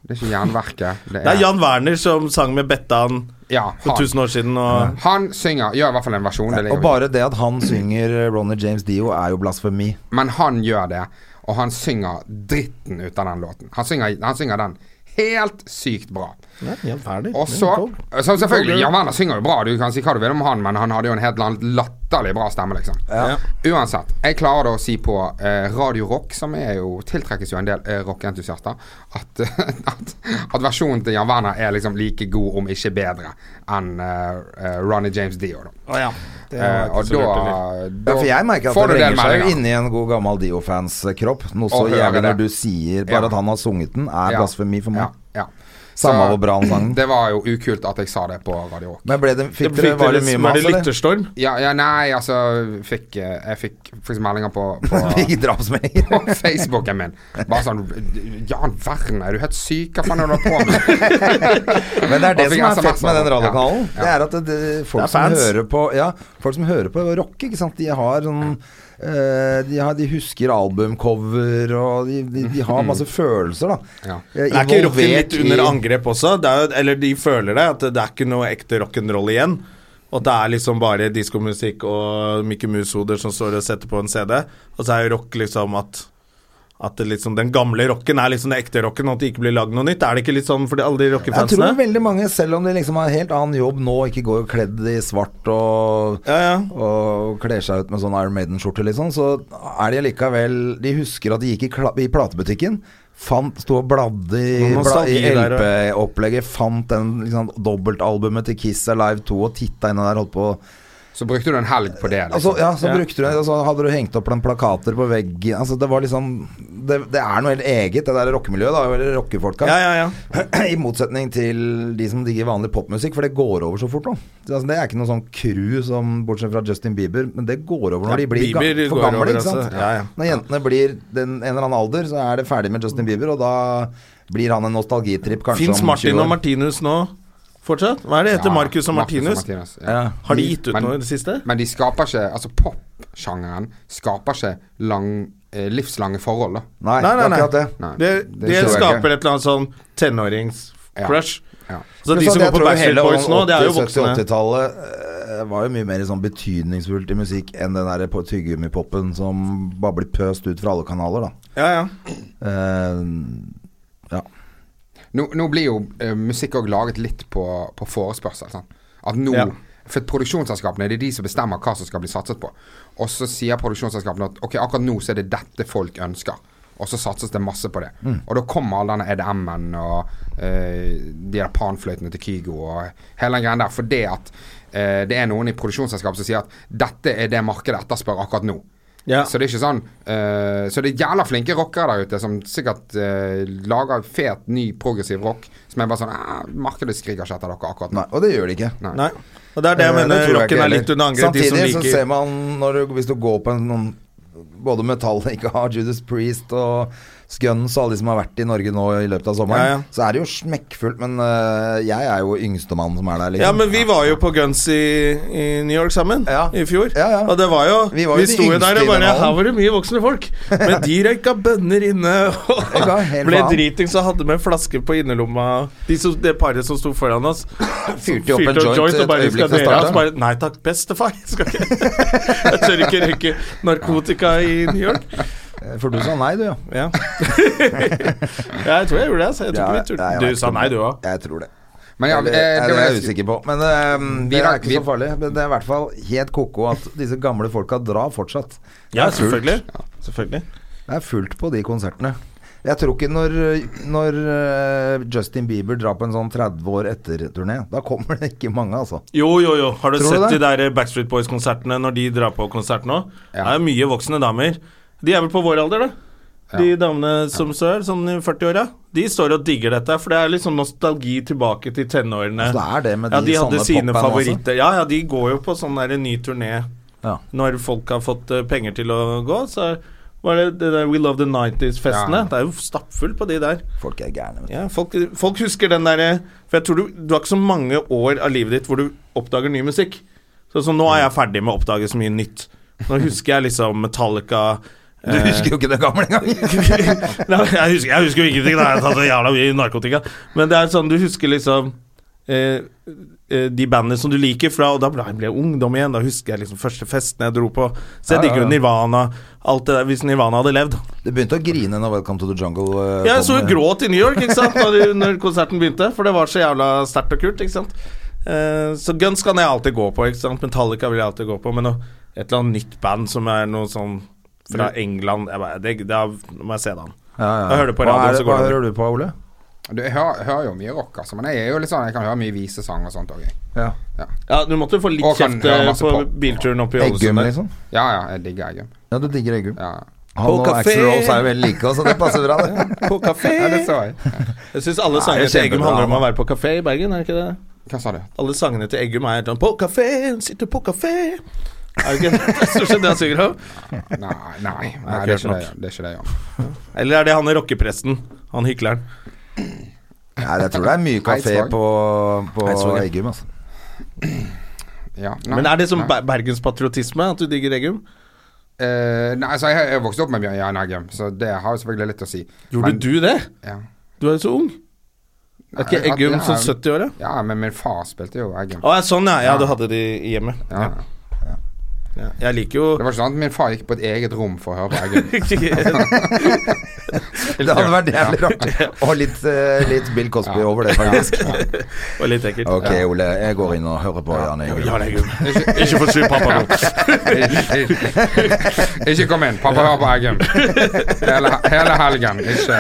Det er ikke Jernverket. Det er, Det er Jan Werner som sang med Bettan ja, for han. 1000 år siden, og Han synger, gjør i hvert fall en versjon. det ligger Og vi- bare det at han synger eh, Ronny James Dio, er jo blasfemi. Men han gjør det, og han synger dritten ut av den låten. Han synger, han synger den helt sykt bra. Nei, Jan Werner. Og så så Selvfølgelig, Jan Werner synger jo bra, du kan si hva du vil om han, men han hadde jo en helt annen latterlig bra stemme, liksom. Ja. Uansett, jeg klarer da å si på eh, Radio Rock, som er jo tiltrekkes jo en del eh, rockeentusiaster, at, at, at versjonen til Jan Werner er liksom like god, om ikke bedre, enn eh, eh, Ronny James Dio, da. Å ja. Eh, og da, da Ja, for jeg merker at får du det en del vrenger seg meldinger. inni en god gammel Dio-fans kropp. Noe så Og hører jævlig når du det. sier bare Ja. at han har sunget den, er Ja. blasfemi for meg. Ja, ja. Samme Så hvor bra han sang den. Det var jo ukult at jeg sa det på Radio Rock. Men ble det, fikk Fikk dere, var det mye var mas, det eller? lytterstorm? Ja, ja, nei, altså fikk, eh, Jeg fikk faktisk meldinger på, på, Fikk drapsmeldinger? på Facebooken min. Bare sånn Jan Werner, er du helt syk? Hva faen er du holder på med? Men det er det Og fikk som er SMS fett med også. den radiokanalen. Ja, ja. Det er at det, det, folk, Det er som fans. hører på, ja, folk som hører på rock, ikke sant. De har sånn eh, de, har, de husker albumcover, og de, de, de har masse følelser, da. Ja. Eh, Mm. Men er ikke rocken involvert litt under i- angrep også? Det er, jo- eller de føler det, at det er ikke noe ekte rock'n'roll igjen. Og det er liksom bare diskomusikk og Mickey Mouse-hoder som står og setter på en CD. Og så er jo rock liksom at at det liksom, den gamle rocken er liksom den ekte rocken, og at det ikke blir lagd noe nytt. Er det ikke litt sånn for de, alle de Jeg tror rockefansene? veldig mange, selv om de liksom har en helt annen jobb nå, ikke går kledd i svart og Ja, ja. og kler seg ut med sånn Iron Maiden-skjorte, liksom, så er de allikevel De husker at de gikk i, kla- i platebutikken, fant, sto og bladde i, Noe bla, i nostalgi der, LP-opplegget, fant den liksom, dobbeltalbumet til Kiss Alive 2 og titta inn der, holdt på å Så brukte du en helg på det. Liksom. Altså, ja, så Ja. brukte du altså, Hadde du hengt opp den plakater på veggen altså, Det var liksom det, det er noe helt eget, det der rockemiljøet, da. Eller rockefolka. Ja, ja, ja. I motsetning til de som digger vanlig popmusikk, for det går over så fort nå. Det, altså, det er ikke noe sånn crew som, bortsett fra Justin Bieber, men det går over når Ja, de blir ga Bieber for går gamle. over, Ikke sant? altså. Ja, ja. Når jentene blir den, en eller annen alder, så er det ferdig med Justin Bieber, og da blir han en nostalgitripp kanskje Fins om 20 Martin år. og Martinus nå fortsatt? Hva er det heter? Ja, Marcus og Martinus? ja. Ja. Har de gitt ut Men- noe i det siste? Men de skaper ikke Altså, popsjangeren skaper ikke lang, eh, livslange forhold, da. Nei, Nei, nei, nei. akkurat det. Nei. Det, det det tror jeg skaper ikke. et eller annet sånn Ja. tenårings-crush. Ja. Så de Pluss at som går jeg på tror Backstreet hele Boys nå, det er jo 80-, voksne. 70-tallet eh, var jo mye mer sånn betydningsfullt i musikk enn den der på- tyggegummipopen som bare blir pøst ut fra alle kanaler, da. Ja, ja. Eh, ja. Nå, nå blir jo eh, musikk òg laget litt på, på forespørsel. Sant? At nå Ja. For produksjonsselskapene det er de som bestemmer hva som skal bli satset på. Og så sier produksjonsselskapene at ok, akkurat nå så er det dette folk ønsker. Og så satses det masse på det. Mm. Og da kommer all denne EDM-en og eh, de der panfløytene til Kygo og hele den greia der. For det at eh, det er noen i produksjonsselskapet som sier at dette er det markedet etterspør akkurat nå. Ja. Så det er ikke sånn eh, Så det er jævla flinke rockere der ute som sikkert eh, lager fet, ny, progressiv rock som er bare sånn «Ah, Markedet skriker ikke etter dere akkurat nå. Nei, og det gjør de ikke. Nei. Nei. Og det er det jeg Eh, mener. tror jeg Rocken ikke er heller. litt under angrep, de som Samtidig så ser liker man, når du, hvis du går på en noen både Metallica, Judas Priest og Guns og alle de som har vært i Norge nå i løpet av sommeren, Ja, ja. så er det jo smekkfullt. Men eh, jeg er jo yngstemann som er der, liksom. Ja, men vi var jo på Guns i, i New York sammen Ja. i fjor. Ja, ja. Og det var jo Vi, Vi var jo de sto jo yngste der i og den bare hallen. Her var det mye voksne folk. Men de røyka bønner inne og Ja, helt ble faen. dritings og hadde med flasker på innerlomma. De som, det paret som sto foran oss, Fyrte jo opp en joint et og bare øyeblikk skal før dere starten. Og så bare Nei takk, bestefar. Jeg skal ikke Jeg tør ikke røyke narkotika i New York. Eh, For du sa nei, du, ja. Ja. ja jeg tror jeg gjorde det. altså. jeg tror Ja, ikke vi turte. nei, jeg vet Du sa ikke. nei, du òg. Jeg tror det. Men ja, Eller, eh, nei, det det var er jeg usikker på. Men eh, det Vidar, er ikke vi- så farlig. Men det er i hvert fall helt ko-ko at disse gamle folka drar fortsatt. Det Ja, er fullt. selvfølgelig. Selvfølgelig. Det er fullt på de konsertene. Jeg tror ikke når, når eh, Justin Bieber drar på en sånn 30 år etter-turné, da kommer det ikke mange, altså. Jo, jo, jo. Har du Tror du sett det? de der Backstreet Boys-konsertene når de drar på konsert nå? Ja. Det er mye voksne damer. De er vel på vår alder, da? De damene som står sånn i 40-åra, de står og digger dette. For det er liksom nostalgi tilbake til tenårene. Så Altså, det er det med ja, de de hadde sånne sine popband også? favoritter. Ja, ja, de går jo på sånn der ny turné Ja. når folk har fått eh, penger til å gå. Så var det det der We Love the 90s-festene. Ja. Det er jo stappfullt på de der. Folk er gærne. vet du. Ja, folk, folk husker den derre For jeg tror du, du har ikke så mange år av livet ditt hvor du oppdager ny musikk. Så, så nå er jeg ferdig med å oppdage så mye nytt. Nå husker jeg liksom Metallica Eh. Du husker jo ikke det gamle engang. Nei, jeg, husker, jeg husker jo ingenting, da. Jeg har tatt så jævla mye narkotika. Men det er sånn, du husker liksom eh, eh, de bandene som du liker fra Og da ble ble jeg ungdom igjen. Da husker jeg liksom første festen jeg dro på. Så Ja, jeg ja, digger ja. jo Nirvana. Alt det der, hvis Nirvana hadde levd. Du begynte å grine når Welcome to the Jungle eh, Ja, jeg kom. så jo gråt i New York ikke sant? Når, når konserten begynte, for det var så jævla sterkt og kult. ikke sant? Eh, så Guns kan jeg alltid gå på, ikke sant? Metallica vil jeg alltid gå på. Men noe, et eller annet nytt band som er noe sånn fra England jeg bare, det, det, er- Nå må jeg se det an. Mm. Ja, ja. Jeg hører på Hva radio, er det- så går Hva det. hører du på, Ole? Du, jeg hører, hører jo mye rock, altså. Men jeg er jo litt sånn Jeg kan høre mye visesang og sånt òg, jeg. Ja. Ja, Du måtte få litt Og kan kjeft høre eh, masse på pop. bilturen opp i Eggum, Ålesund. der. liksom? Ja ja, jeg digger Eggum. Ja, du digger Eggum. Ja. Han På og kafé. Axl Rose er jo veldig like, så det passer bra, det. På kafé! ja, det så jeg. Jeg syns alle sangene liksom? det er til Eggum kjempebra, handler om da. å være på kafé i Bergen, er det ikke det? Hva sa du? Alle sangene til Eggum er sånn På kafé, sitter på kafé Er det ikke det er stort sett det han synger om? Nei, nei, nei, det, er ikke det, det er ikke det, Jan. Eller er det han rockepresten? Han hykleren. Nei, jeg tror det er mye kafé Eidsvåg. på, på Eidsvåg, ja. Eggum, altså. Ja, nei, Men er det som nei. Ber- bergenspatriotisme at du digger Eggum? Eh, nei, altså, jeg, jeg vokste opp med Bjørn Jan Eggum, så det har jo selvfølgelig litt å si. Gjorde Men- du det? Ja. Du er jo så ung. Er Nei, ikke jeg- Eggum ja, sånn 70 år, da? Ja, men min far spilte jo Eggum. Å, ja, sånn, ja. Ja, du hadde de i hjemmet. Ja. Ja. Jeg liker jo Det var ikke sånn at min far gikk på et eget rom for å høre på Eggum. Det hadde vært jævlig rart. Og litt, eh, litt Bill Cosby over det, faktisk. Det var litt ekkelt. Ok, Ole. Jeg går inn og hører på Jan Eggum. Jan Eggum. Ikke for sju pappa nå. ikke kom inn. Pappa hører på Eggum. Hele, hele helgen. Ikke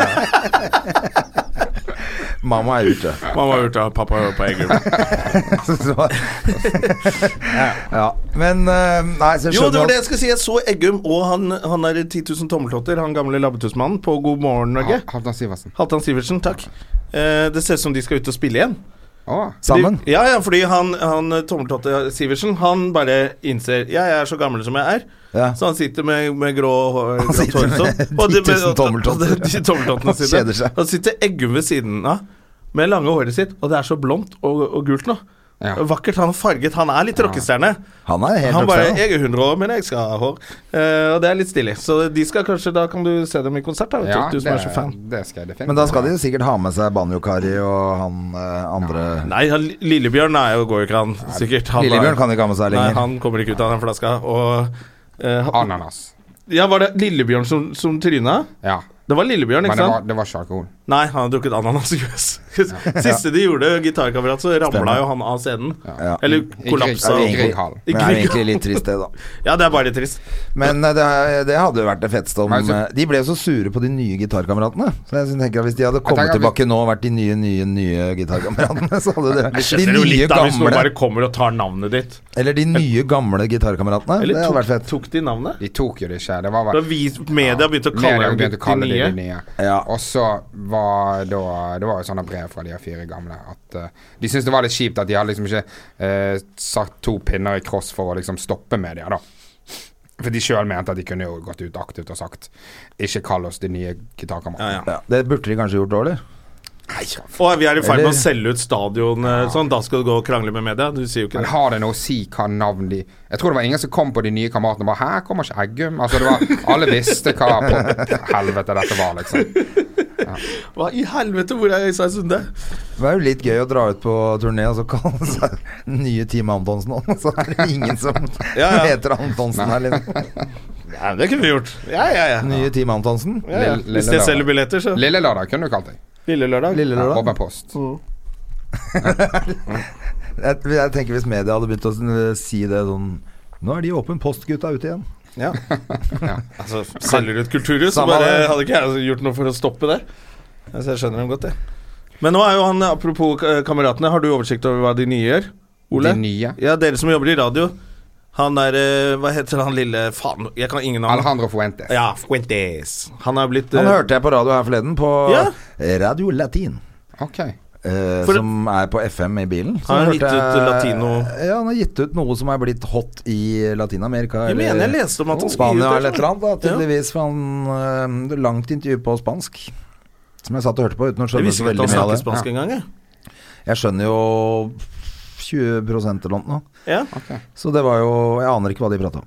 Mamma er ute. Mamma har gjort det, pappa er på Egil. Så, ja. Men eh, Nei, så jeg Jo, det var skjønner det jeg skulle si. Jeg så Eggum og han, han er i 10 000 tommeltotter, han gamle labbetussmannen, på God morgen Norge. Ha- Halvdan Sivertsen. Halvdan Sivertsen, takk. Eh, det ser ut som de skal ut og spille igjen. Å. at Sammen? Fordi, ja, ja, fordi han, han eh, tommeltotte Sivertsen, han bare innser Jeg er så gammel som jeg er. Ja. Så han sitter med, med grå hår sånn. Han sitter med 10 000 tommeltotter. De tommeltottene sine. Kjeder seg. Han sitter Eggum ved siden av med lange håret sitt, og det er så blondt og, og gult nå. Ja. Vakkert. Han er farget. Han er litt rockestjerne. Han er helt Han bare oppsett, da. 'Jeg er 100 år, men jeg skal ha hår'. Eh, og det er litt stilig. Så de skal kanskje Da kan du se dem i konsert, da. vet Ja, du, du som er så fan. det, det skal jeg definitivt. Men da skal de jo sikkert ha med seg Banjo-Kari og han eh, andre Nei, han, Lillebjørn er jo, går jo ikke, han sikkert. Han Lillebjørn kan ikke ha med seg Nei, lenger. han kommer ikke ut av den flaska. Og eh, han- Ananas. Ja, var det Lillebjørn som, som tryna? Ja. Det var Lillebjørn, Men det ikke sant? var, det var ikke alkohol. Nei, han hadde drukket ananasjuice. Siste de gjorde, gitarkamerat, så ramla Stemmer. jo han av scenen. Ja. Eller I kollapsa. Grieg- og- Grieghallen. I Men det er jo Grieg- egentlig litt trist, det, da. Ja, det er bare trist. Men eh, det, er- det hadde jo vært det feteste om Men så- eh, De ble jo så sure på de nye gitarkameratene. Så jeg tenker at hvis de hadde kommet tenker at vi- tilbake nå og vært de nye, nye, nye gitarkameratene, så hadde det Jeg vært skjønner de jo nye litt da hvis noen gamle bare kommer og tar navnet ditt. Eller de nye gamle gitarkameratene. Det Eller hadde vært tok, fett. tok de navnet? De tok jo det ikke. Det var Da vel vi, media begynte å kalle Media dem begynte å kalle de det de nye. nye. Ja. Og så var da Det var jo sånne brev fra de her fire gamle at eh, de syntes det var litt kjipt at de hadde liksom ikke eh, satt to pinner i kross for å liksom stoppe media, da. For de sjøl mente at de kunne jo gått ut aktivt og sagt 'ikke kall oss de nye gitarkameratene'. Ja, ja. Ja, det burde de kanskje gjort dårlig. Og vi er i ferd med å Eller- selge ut stadion, eh, sånn. Da skal du gå og krangle med media. Du sier jo ikke Men det. har det noe å si hva navn de Jeg tror det var ingen som kom på de nye kameratene og bare 'Her kommer ikke Eggum'. Altså, det var, alle visste hva helvete dette var, liksom. Hva i helvete, hvor er Øystein Sunde? Det var jo litt gøy å dra ut på turné og så kalle seg nye Team Antonsen, og så er det ingen som Ja, ja. heter Antonsen her. Liksom. Ja, det kunne vi gjort. Ja, ja, ja. Nye Team Antonsen. ja, ja. Lille- Lille Hvis de Lørdag. selger billetter, så. Lille Lørdag kunne du kalt deg. Lille Lørdag. Lille Ja, Lørdag. Robin Post. Jeg, jeg tenker hvis media hadde begynt å eh, si det sånn Nå er de åpen post-gutta ute igjen. Ja. Altså, selger du et kulturhus, så Samme bare det. hadde ikke jeg altså gjort noe for å stoppe det. Altså, jeg skjønner dem godt, det. Men nå er jo han, apropos eh, kameratene, har du oversikt over hva de nye gjør? Ole? De nye. Ja, dere som jobber i radio. Han der eh, Hva heter han lille Faen, jeg kan ingen navn. Alejandro Fuentes. Ja, Fuentes. Han er blitt Han eh, hørte jeg på radio her forleden, på Ja. Radio Latin. Ok. eh, For- som er på FM i bilen. Så Har han hørte gitt ut eh, jeg- latino- Ja, han har gitt ut noe som er blitt hot i Latin-Amerika. Jeg eller- mener jeg leste om at han skulle gi ut Spania det, eller et eller annet, da, Ja. tydeligvis. For han eh, det er langt intervju på spansk. Som jeg satt og hørte på uten å Jeg skjønne så visste ikke at sånn veldig han mye av snakket det. spansk engang, jeg. Jeg skjønner jo 20 eller noe nå. Ja. Så det var jo Jeg aner ikke hva de prata om.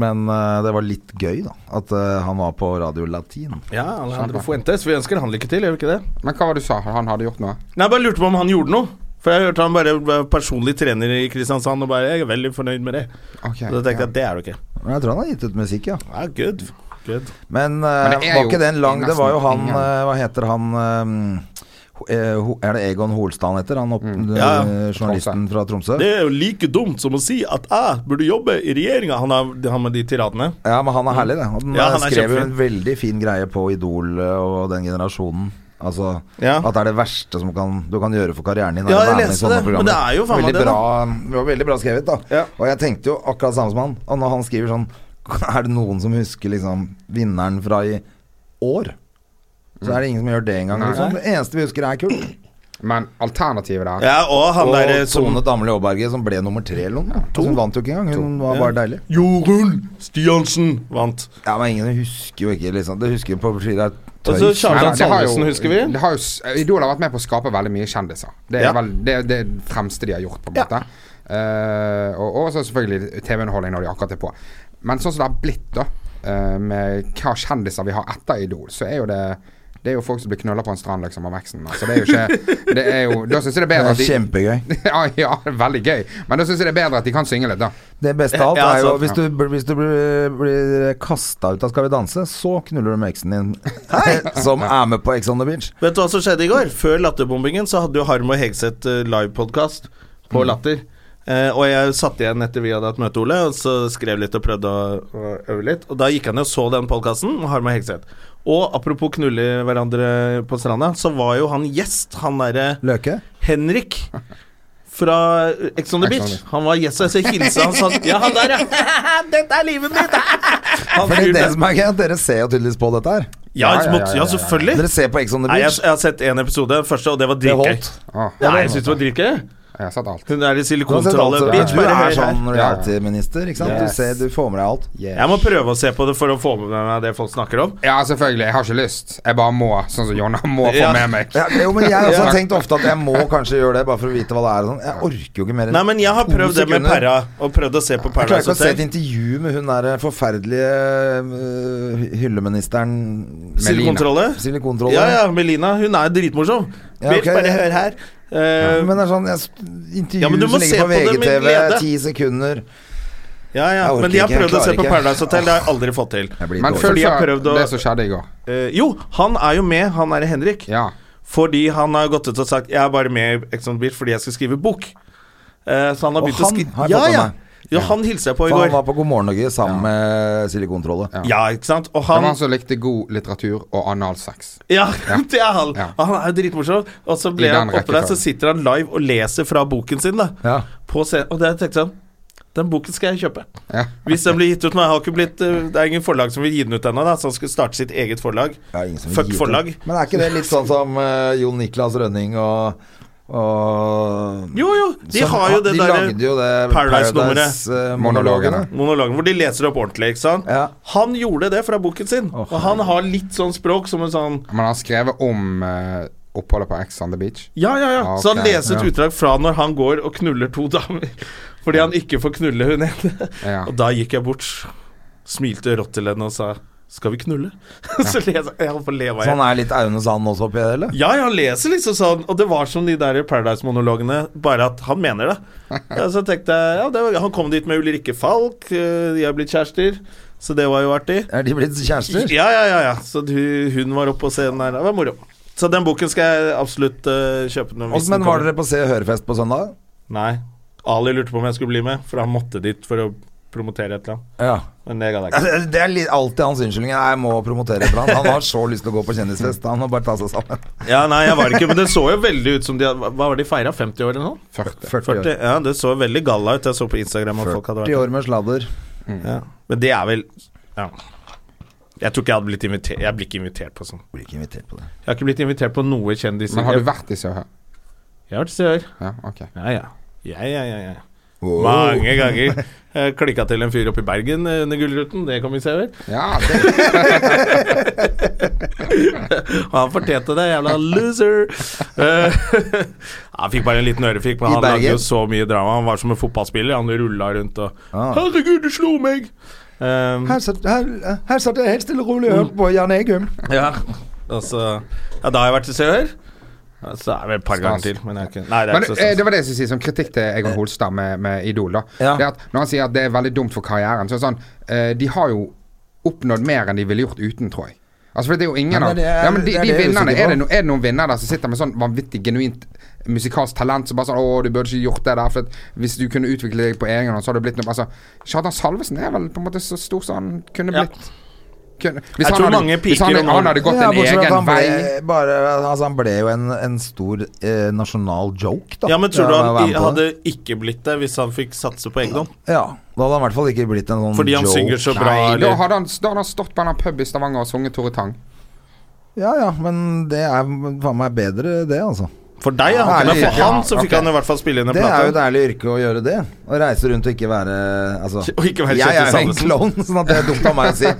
Men eh, det var litt gøy, da. At eh, han var på Radio Latin. ja, Alejandro Fuentes. Vi ønsker han lykke til, gjør vi ikke det? Men hva var det du sa? Han hadde gjort noe? Nei, jeg bare lurte på om han gjorde noe. For jeg hørte han bare var personlig trener i Kristiansand, og bare 'Jeg er veldig fornøyd med det'. Ok. Så da tenkte jeg ja. at det er du ikke. Men jeg tror han har gitt ut musikk, ja. Ja, good. good. Men, det eh, er var jo ikke den lang Det var jo han nesten ingen- eh, Hva heter han eh, ho- eh, ho- Er det Egon Holstad han heter? Han opp, eh, Mm. Ja, journalisten fra Tromsø? Det er jo like dumt som å si at jeg burde jobbe i regjeringa, han, har- det- han med de tiradene. Ja, men han er herlig, det. Han, Ja, han er eh, skrev jo kjempefin. en veldig fin greie på Idol eh, og den generasjonen. Altså Ja. At det er det verste som kan, du kan gjøre for karrieren din. er Ja, å jeg være med i leste sånne det, men programmer. det er jo faen meg veldig det, da. bra, det var Veldig bra skrevet, da. Ja. Og jeg tenkte jo akkurat samme som han. Og når han skriver sånn Er det noen som husker liksom vinneren fra i år? Så er det ingen som gjør det engang. Nei. Liksom. Det eneste vi husker, er kult. Men alternativet der Ja, og han Og derre Tone som Damli Aaberge, som ble nummer tre eller noe. Altså, Hun vant jo ikke engang. Hun var bare deilig. Jorunn Stiansen vant. Ja, men ingen husker jo ikke liksom. Det husker jo på fordi det er tøys. Og så Charles Nei, det har jo- Sandnesen, husker vi. Det har jo, s- Idol har vært med på å skape veldig mye kjendiser. Det er Ja. vel det, det er det fremste de har gjort, på en Ja. måte. Eh, og og så selvfølgelig TV-underholdning når de akkurat er på. Men sånn som det har blitt, da, eh, med hva kjendiser vi har etter Idol, så er jo det det er jo folk som blir knulla på en strand, liksom, av veksten. Altså, det er jo ikke det er jo, Da syns jeg det er Det bedre at er de kjempegøy. ja, ja, veldig gøy. Men da syns jeg det er bedre at de kan synge litt, da. Det beste av alt Ja, er jo sant. hvis du, bl- hvis du blir, blir kasta ut av Skal vi danse, så knuller du med eksen din. Som er med på Ex on the Beach. Vet du hva som skjedde i går? Før latterbombingen så hadde jo Harm og Hegseth eh, livepodkast på Latter. Eh, og jeg satt igjen etter vi hadde hatt møte, Ole, og så skrev litt og prøvde å, å øve litt. Og da gikk han og så den podkasten, Harm og Hegseth. Og apropos knulle hverandre på stranda, så var jo han gjest, han derre Løke? Henrik fra Ex on the Beach. Han var gjest, og jeg så hilsa han sånn Ja, han der, ja! Dette er livet mitt! Han Fordi det fyren som er gøy, er at dere ser jo tydeligvis på dette her. Ja, Ja, ja, ja, mot- ja, ja, ja. selvfølgelig. Dere ser på Ex on the Nei, jeg, Beach. jeg har sett én episode, den første, og det var Det dritgøy. holdt. Å, Nei, jeg syns det var dritgøy. jeg har sett alt. Hun er i Du har sett alt, silikontrollet så- bitch. du Bare er hør her. sånn reality-minister, ikke sant? Du, Yes. ser, du får med deg alt. Jeg må prøve å se på det for å få med meg det folk snakker om. Ja, selvfølgelig. Jeg har ikke lyst. Jeg bare må, sånn som Jonna må få Ja. med meg. Ja, jo, men jeg har også Ja. tenkt ofte at jeg må kanskje gjøre det, bare for å vite hva det er. og Sånn. Jeg orker jo ikke mer enn Nei, men jeg har to prøvd det med sekunder. Perra, og prøvd å se på Jeg klarer Paradise ikke å se et Hotel. intervju med hun der eh, forferdelige øh, hylleministeren Silikontrolle. Silikontrolle. Ja, ja, Melina. Hun er dritmorsom. Ja, Bitch, ok. Bare hør her. Eh, Men det er sånn jeg, s- intervju Ja, men du må som se ligger på på det med VGTV, glede. ti sekunder. ja, ja. Jeg orker Men de har ikke, jeg prøvd å se klarer på ikke. Paradise Hotel, det har jeg aldri fått til. Jeg blir Men dårlig. følg Fordi jeg så prøvde å- det som skjedde i går. Eh, jo, han er jo med, han er Henrik. Ja. Fordi han har gått ut og sagt 'Jeg er bare med i Ex on the Beach fordi jeg skal skrive bok'. Eh, så han har Og begynt å skrive han har jeg Ja, fått med ja. meg. ja, han hilser jeg på i For går. han var på God morgen Norge sammen med Silikontrolle. Ja. Ja, ikke sant. Og Det var han han som likte god litteratur og analsex. Ja, det er han. Ja. Og Han er jo dritmorsom. Og så ble I den han oppe der, rekkefølgen. så sitter han live og leser fra boken sin, da. Ja. På scenen. Og det tenkte jeg sånn Den boken skal jeg kjøpe. Ja. Hvis den blir gitt ut nå. Jeg har ikke blitt eh, Det er ingen forlag som vil gi den ut ennå, da, så han skulle starte sitt eget forlag. Ja, ingen som vil Fuck gi ut det. forlag. Men er ikke det litt sånn som uh, Jon Niklas Rønning og, og Jo, jo, de som- har jo det de derre lagde jo det eh, Paradise-nummeret. Paradise-monologene. monologen hvor de leser opp ordentlig, ikke sant? Ja. Han gjorde det fra boken sin, Å, og han har litt sånn språk som en sånn Men han har skrevet om eh, oppholdet på Ex on the Beach. Ja, ja, ja. Ah, Så han ok, leser et ja. utdrag fra når han går og knuller to damer fordi han ikke får knulle hun ene. Ja. Og da gikk jeg bort, smilte rått til henne og sa skal vi knulle? så leser jeg holdt på å le av meg. Så han Sånn er litt Aune Sand også oppi det, eller? Ja, ja, han leser liksom sånn, og det var som de der Paradise-monologene, bare at han mener det. Ja, så tenkte jeg, ja, det var, Han kom dit med Ulrikke Falk, eh, de har blitt kjærester, så det var jo artig. Er de blitt kjærester? Ja, ja, ja, ja. Så du, hun var oppe på scenen der. Det var moro. Så den boken skal jeg absolutt eh, kjøpe. Når, Og- hvis den Men var kommer. dere på Se og Hør-fest på søndag? Nei. Ali lurte på om jeg skulle bli med, for han måtte dit for å promotere et eller annet. Ja. Men det gadd jeg ikke. Det er litt, alltid hans unnskyldning. «Nei, Jeg må promotere et eller annet. Han har så lyst til å gå på kjendisfest. Han må bare ta seg sammen. Ja, nei, jeg var ikke Men det så jo veldig ut som de Hva hva var de feira? 50 år eller noe? 40. 40 40? år, Ja, det så veldig galla ut. Jeg så på Instagram at folk hadde 40 vært år med sladder. der. Ja. Men det er vel Ja. Jeg tror ikke jeg hadde blitt invitert Jeg blir ikke invitert på sånn. Blir ikke invitert på det. Jeg har ikke blitt invitert på noe kjendis. Men har du vært i Søhø? Jeg har vært i Sør. Ja, ok. Ja, ja. Ja, ja, ja, ja. Wow. Mange ganger. Jeg Klikka til en fyr oppe i Bergen eh, under Gullruten, det kan vi se over. Ja, det, Og han fortjente det, jævla loser. Eh, han fikk bare en liten ørefik, I men han lagde Bergen? jo så mye drama. Han var som en fotballspiller, han rulla rundt og Ah. 'Herregud, du slo meg!' Eh, Her satt, her, her satt jeg helt stille og rolig og hørte på Jan Egum. ja. Og så Ja, da har jeg vært til sør. Ja, Så er det vel et par ganger til, men jeg er ikke Nei, det er men ikke så eh, det stas. var det jeg skulle si som kritikk til Egon Holstad med, med Idol. da Ja. Det at Når han sier at det er veldig dumt for karrieren, så er det sånn eh, De har jo oppnådd mer enn de ville gjort uten, tror jeg. Altså, for det er jo ingen Ja, men av det er- ja, men de, det er de det jeg er vinnerne usikker er, på. det no, er det noen vinnere der som sitter med sånn vanvittig genuint musikalsk talent som bare sånn 'Å, du burde ikke gjort det der, for at hvis du kunne utvikle deg på egen hånd, så hadde det blitt noe Altså, Kjartan Salvesen er vel på en måte så stor som han kunne Ja. blitt. Kunne, hvis Jeg tror han hadde, mange hvis han, piker hadde- om han hadde gått Ja, en bortsett fra at egen han vei ble, bare, altså, han ble jo en, en stor eh, nasjonal joke, da. Ja, men tror du Ja, å være han med i- på det. hadde ikke blitt det hvis han fikk satse på egen hånd? Ja, da hadde han i hvert fall ikke blitt en sånn Fordi han joke. synger så bra? Nei, da eller? hadde, han, da hadde han stått på en eller annen pub i Stavanger og sunget Tore Tang. Ja ja, men det er faen meg bedre, det, altså. For deg, ja. Ja, Men ærlig, for ja, han så fikk ok. han i hvert fall spille inn en Det plate. er jo et ærlig yrke å gjøre det. Å reise rundt og ikke være altså, Og ikke være Jeg er Kjetil jo en Sandesen. klovn, sånn at det er dumt av meg å si.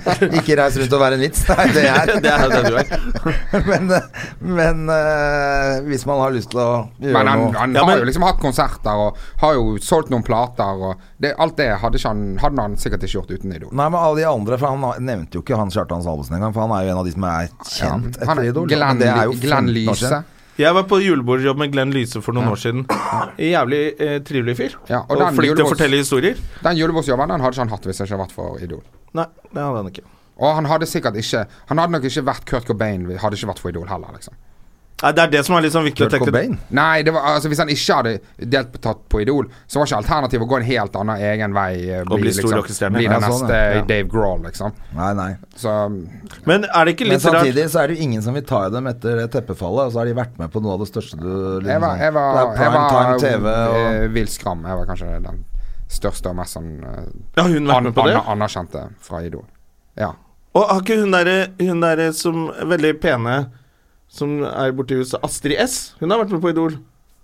Ikke reise rundt og være en vits. Det er jo det jeg Det er. er jo det du er. Men, eh, men eh, hvis man har lyst til å gjøre Men han, noe han Ja, har men- jo liksom hatt konserter og har jo solgt noen plater og det, Alt det hadde, ikke han, hadde han sikkert ikke gjort uten Idol. Nei, men alle de andre, for han nevnte jo ikke han Kjartan Salvesen engang, for han er jo en av de som er kjent Han etter er Idol. Glenn, men det er jo Glenn 15 år Lyse. siden. Jeg var på julebordjobb med Glenn Lyse for noen år siden. Jævlig eh, trivelig fyr. Ja, og og den flink til å julebords- fortelle historier. Den julebordsjobben den hadde ikke han hatt hvis det ikke hadde vært for Idol. Nei, det hadde han ikke. Og han hadde sikkert ikke Han hadde nok ikke vært Kurt Cobain, hadde ikke vært for Idol heller, liksom. Nei, det er det som er litt sånn viktig å Kurt tenke Cobain. Nei, det var, altså, hvis han ikke hadde delt på, tatt på Idol, så var ikke alternativet å gå en helt annen egen vei. eh, Og bli stor rockestjerne. Bli Ja, den sånn, neste ja. Dave Grohl, liksom. Nei, nei. Så Men er det ikke Men litt rart samtidig så er det jo ingen som vil ta i dem etter det teppefallet, og så har de vært med på noe av det største du jeg var, jeg var, Det er jeg prime var time TV og eh, vill skram. Jeg var kanskje den største og mest sånn eh, Ja, hun vært an, med på det? an, anerkjente fra Idol. Ja. Og har ikke hun derre hun der som er veldig pene som er borti huset, Astrid S, hun har vært med på Idol.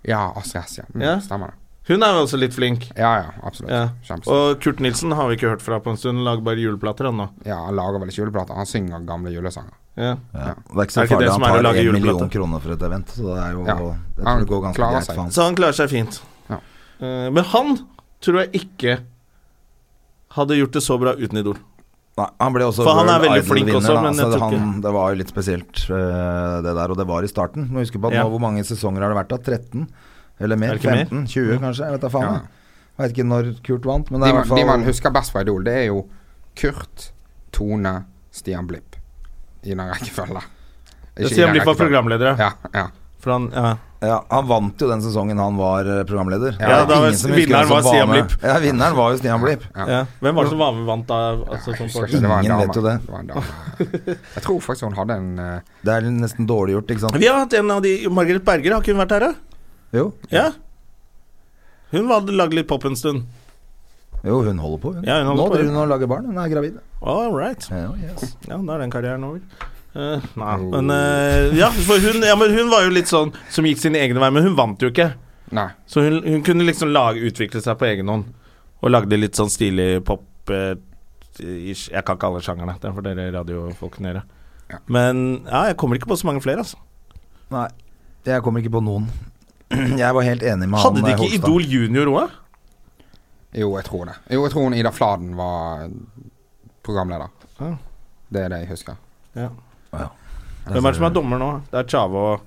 Ja, Astrid S, ja. Mm, Ja. Stemmer det. Hun er jo også litt flink. Ja, ja, absolutt. Ja. Kjempestor. Og Kurt Nilsen har vi ikke hørt fra på en stund. Hun Lager bare juleplater ennå. Ja, han lager vel ikke juleplater. Han synger gamle julesanger. Ja. ja. Det er ikke så Er det ikke det farlig, som han er å tar lage en juleplate? million kroner for et event, så det er jo Ja. Jeg Han tror det går ganske klarer greit seg. for han. Så han klarer seg fint. Ja. Eh, men han tror jeg ikke hadde gjort det så bra uten Idol. Nei, han ble også For han er World veldig Idol flink også, da, men så jeg tror han, det var jo litt spesielt, eh, det der. Og det var i starten. Må huske på at Ja. nå, hvor mange sesonger har det vært da? 13? Eller Er mer? det ikke mer? Mm. 15? 20, kanskje? Jeg vet da faen. Ja. Jeg Vet ikke når Kurt vant, men det De, er i man- hvert de man fall husker best fra Idol, det er jo Kurt, Tone, Stian Blipp. I den rekkefølgen. Ikke i Stian den Blipp var rekkefølgen. programleder, ja. Ja, ja. For han, ja. ja, Han vant jo den sesongen han var eh, programleder. Ja, Det er da var- ingen som husker vinneren hvem som var Stian med. Blipp. Ja, vinneren var jo Stian Blipp. Ja. Ja. Hvem var det som var med vant da? Altså, Jeg sånn husker på- ikke, det var en Ingen dame. vet jo det. var en dame. Jeg tror faktisk hun hadde en eh, Det er nesten dårlig gjort, ikke sant? vi har hatt en av de Margaret Berger, har ikke hun vært her, da? Jo, Ja. Hun hadde lagd litt pop en stund. jo hun holder på, hun. Ja, hun holder nå på, driver ja. hun og lager barn. Hun er gravid. All right. Ja, yes. Ja, da er den karrieren over. Eh, nei, men eh, ja, for hun, ja, men hun var jo litt sånn som gikk sine egne veier, men hun vant jo ikke. Nei. Så hun, hun kunne liksom lage, utvikle seg på egen hånd, og lagde litt sånn stilig pop eh, ish. Jeg kan ikke alle sjangerne, det får dere radiofolkene gjøre. Ja. Men ja, jeg kommer ikke på så mange flere, altså. Nei, jeg kommer ikke på noen. Jeg var helt enig med han Hadde de eh, ikke Holstad. Idol Junior òg? Jo, jeg tror det. Jo, jeg tror hun Ida Fladen var programleder. Ja. Det er det jeg husker. Hvem er det som er dommer nå? Det er Tjave og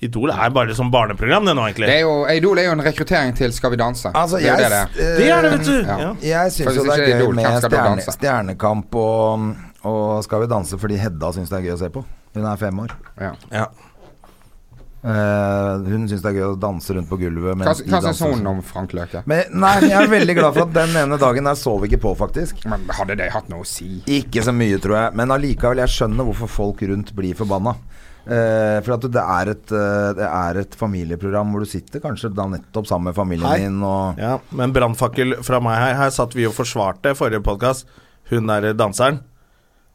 Idol er bare sånn barneprogram, det nå, Det egentlig. er jo, Idol er jo en rekruttering til Skal vi danse. Altså, det er jeg, jo det det er. eh, Det er det, vet du! Ja. Ja. Jeg syns Faktisk jo det ikke er gøy Idol, med Hvem skal da stjerne, danse? Stjernekamp og, og Skal vi danse fordi Hedda syns det er gøy å se på. Hun er fem år. Ja. Eh, hun syns det er gøy å danse rundt på Hva, gulvet mens de hva syns danser. hun om Frank Løke? Men, nei, jeg er veldig glad for at den ene dagen der sov vi ikke på, faktisk. Men hadde det hatt noe å si? Ikke så mye, tror jeg. Men allikevel, jeg skjønner hvorfor folk rundt blir forbanna. Eh, for at det er, et, eh, det er et familieprogram hvor du sitter kanskje da nettopp sammen med familien Hei. din og Ja, men brannfakkel fra meg her. Her satt vi og forsvarte forrige podkast. Hun der danseren.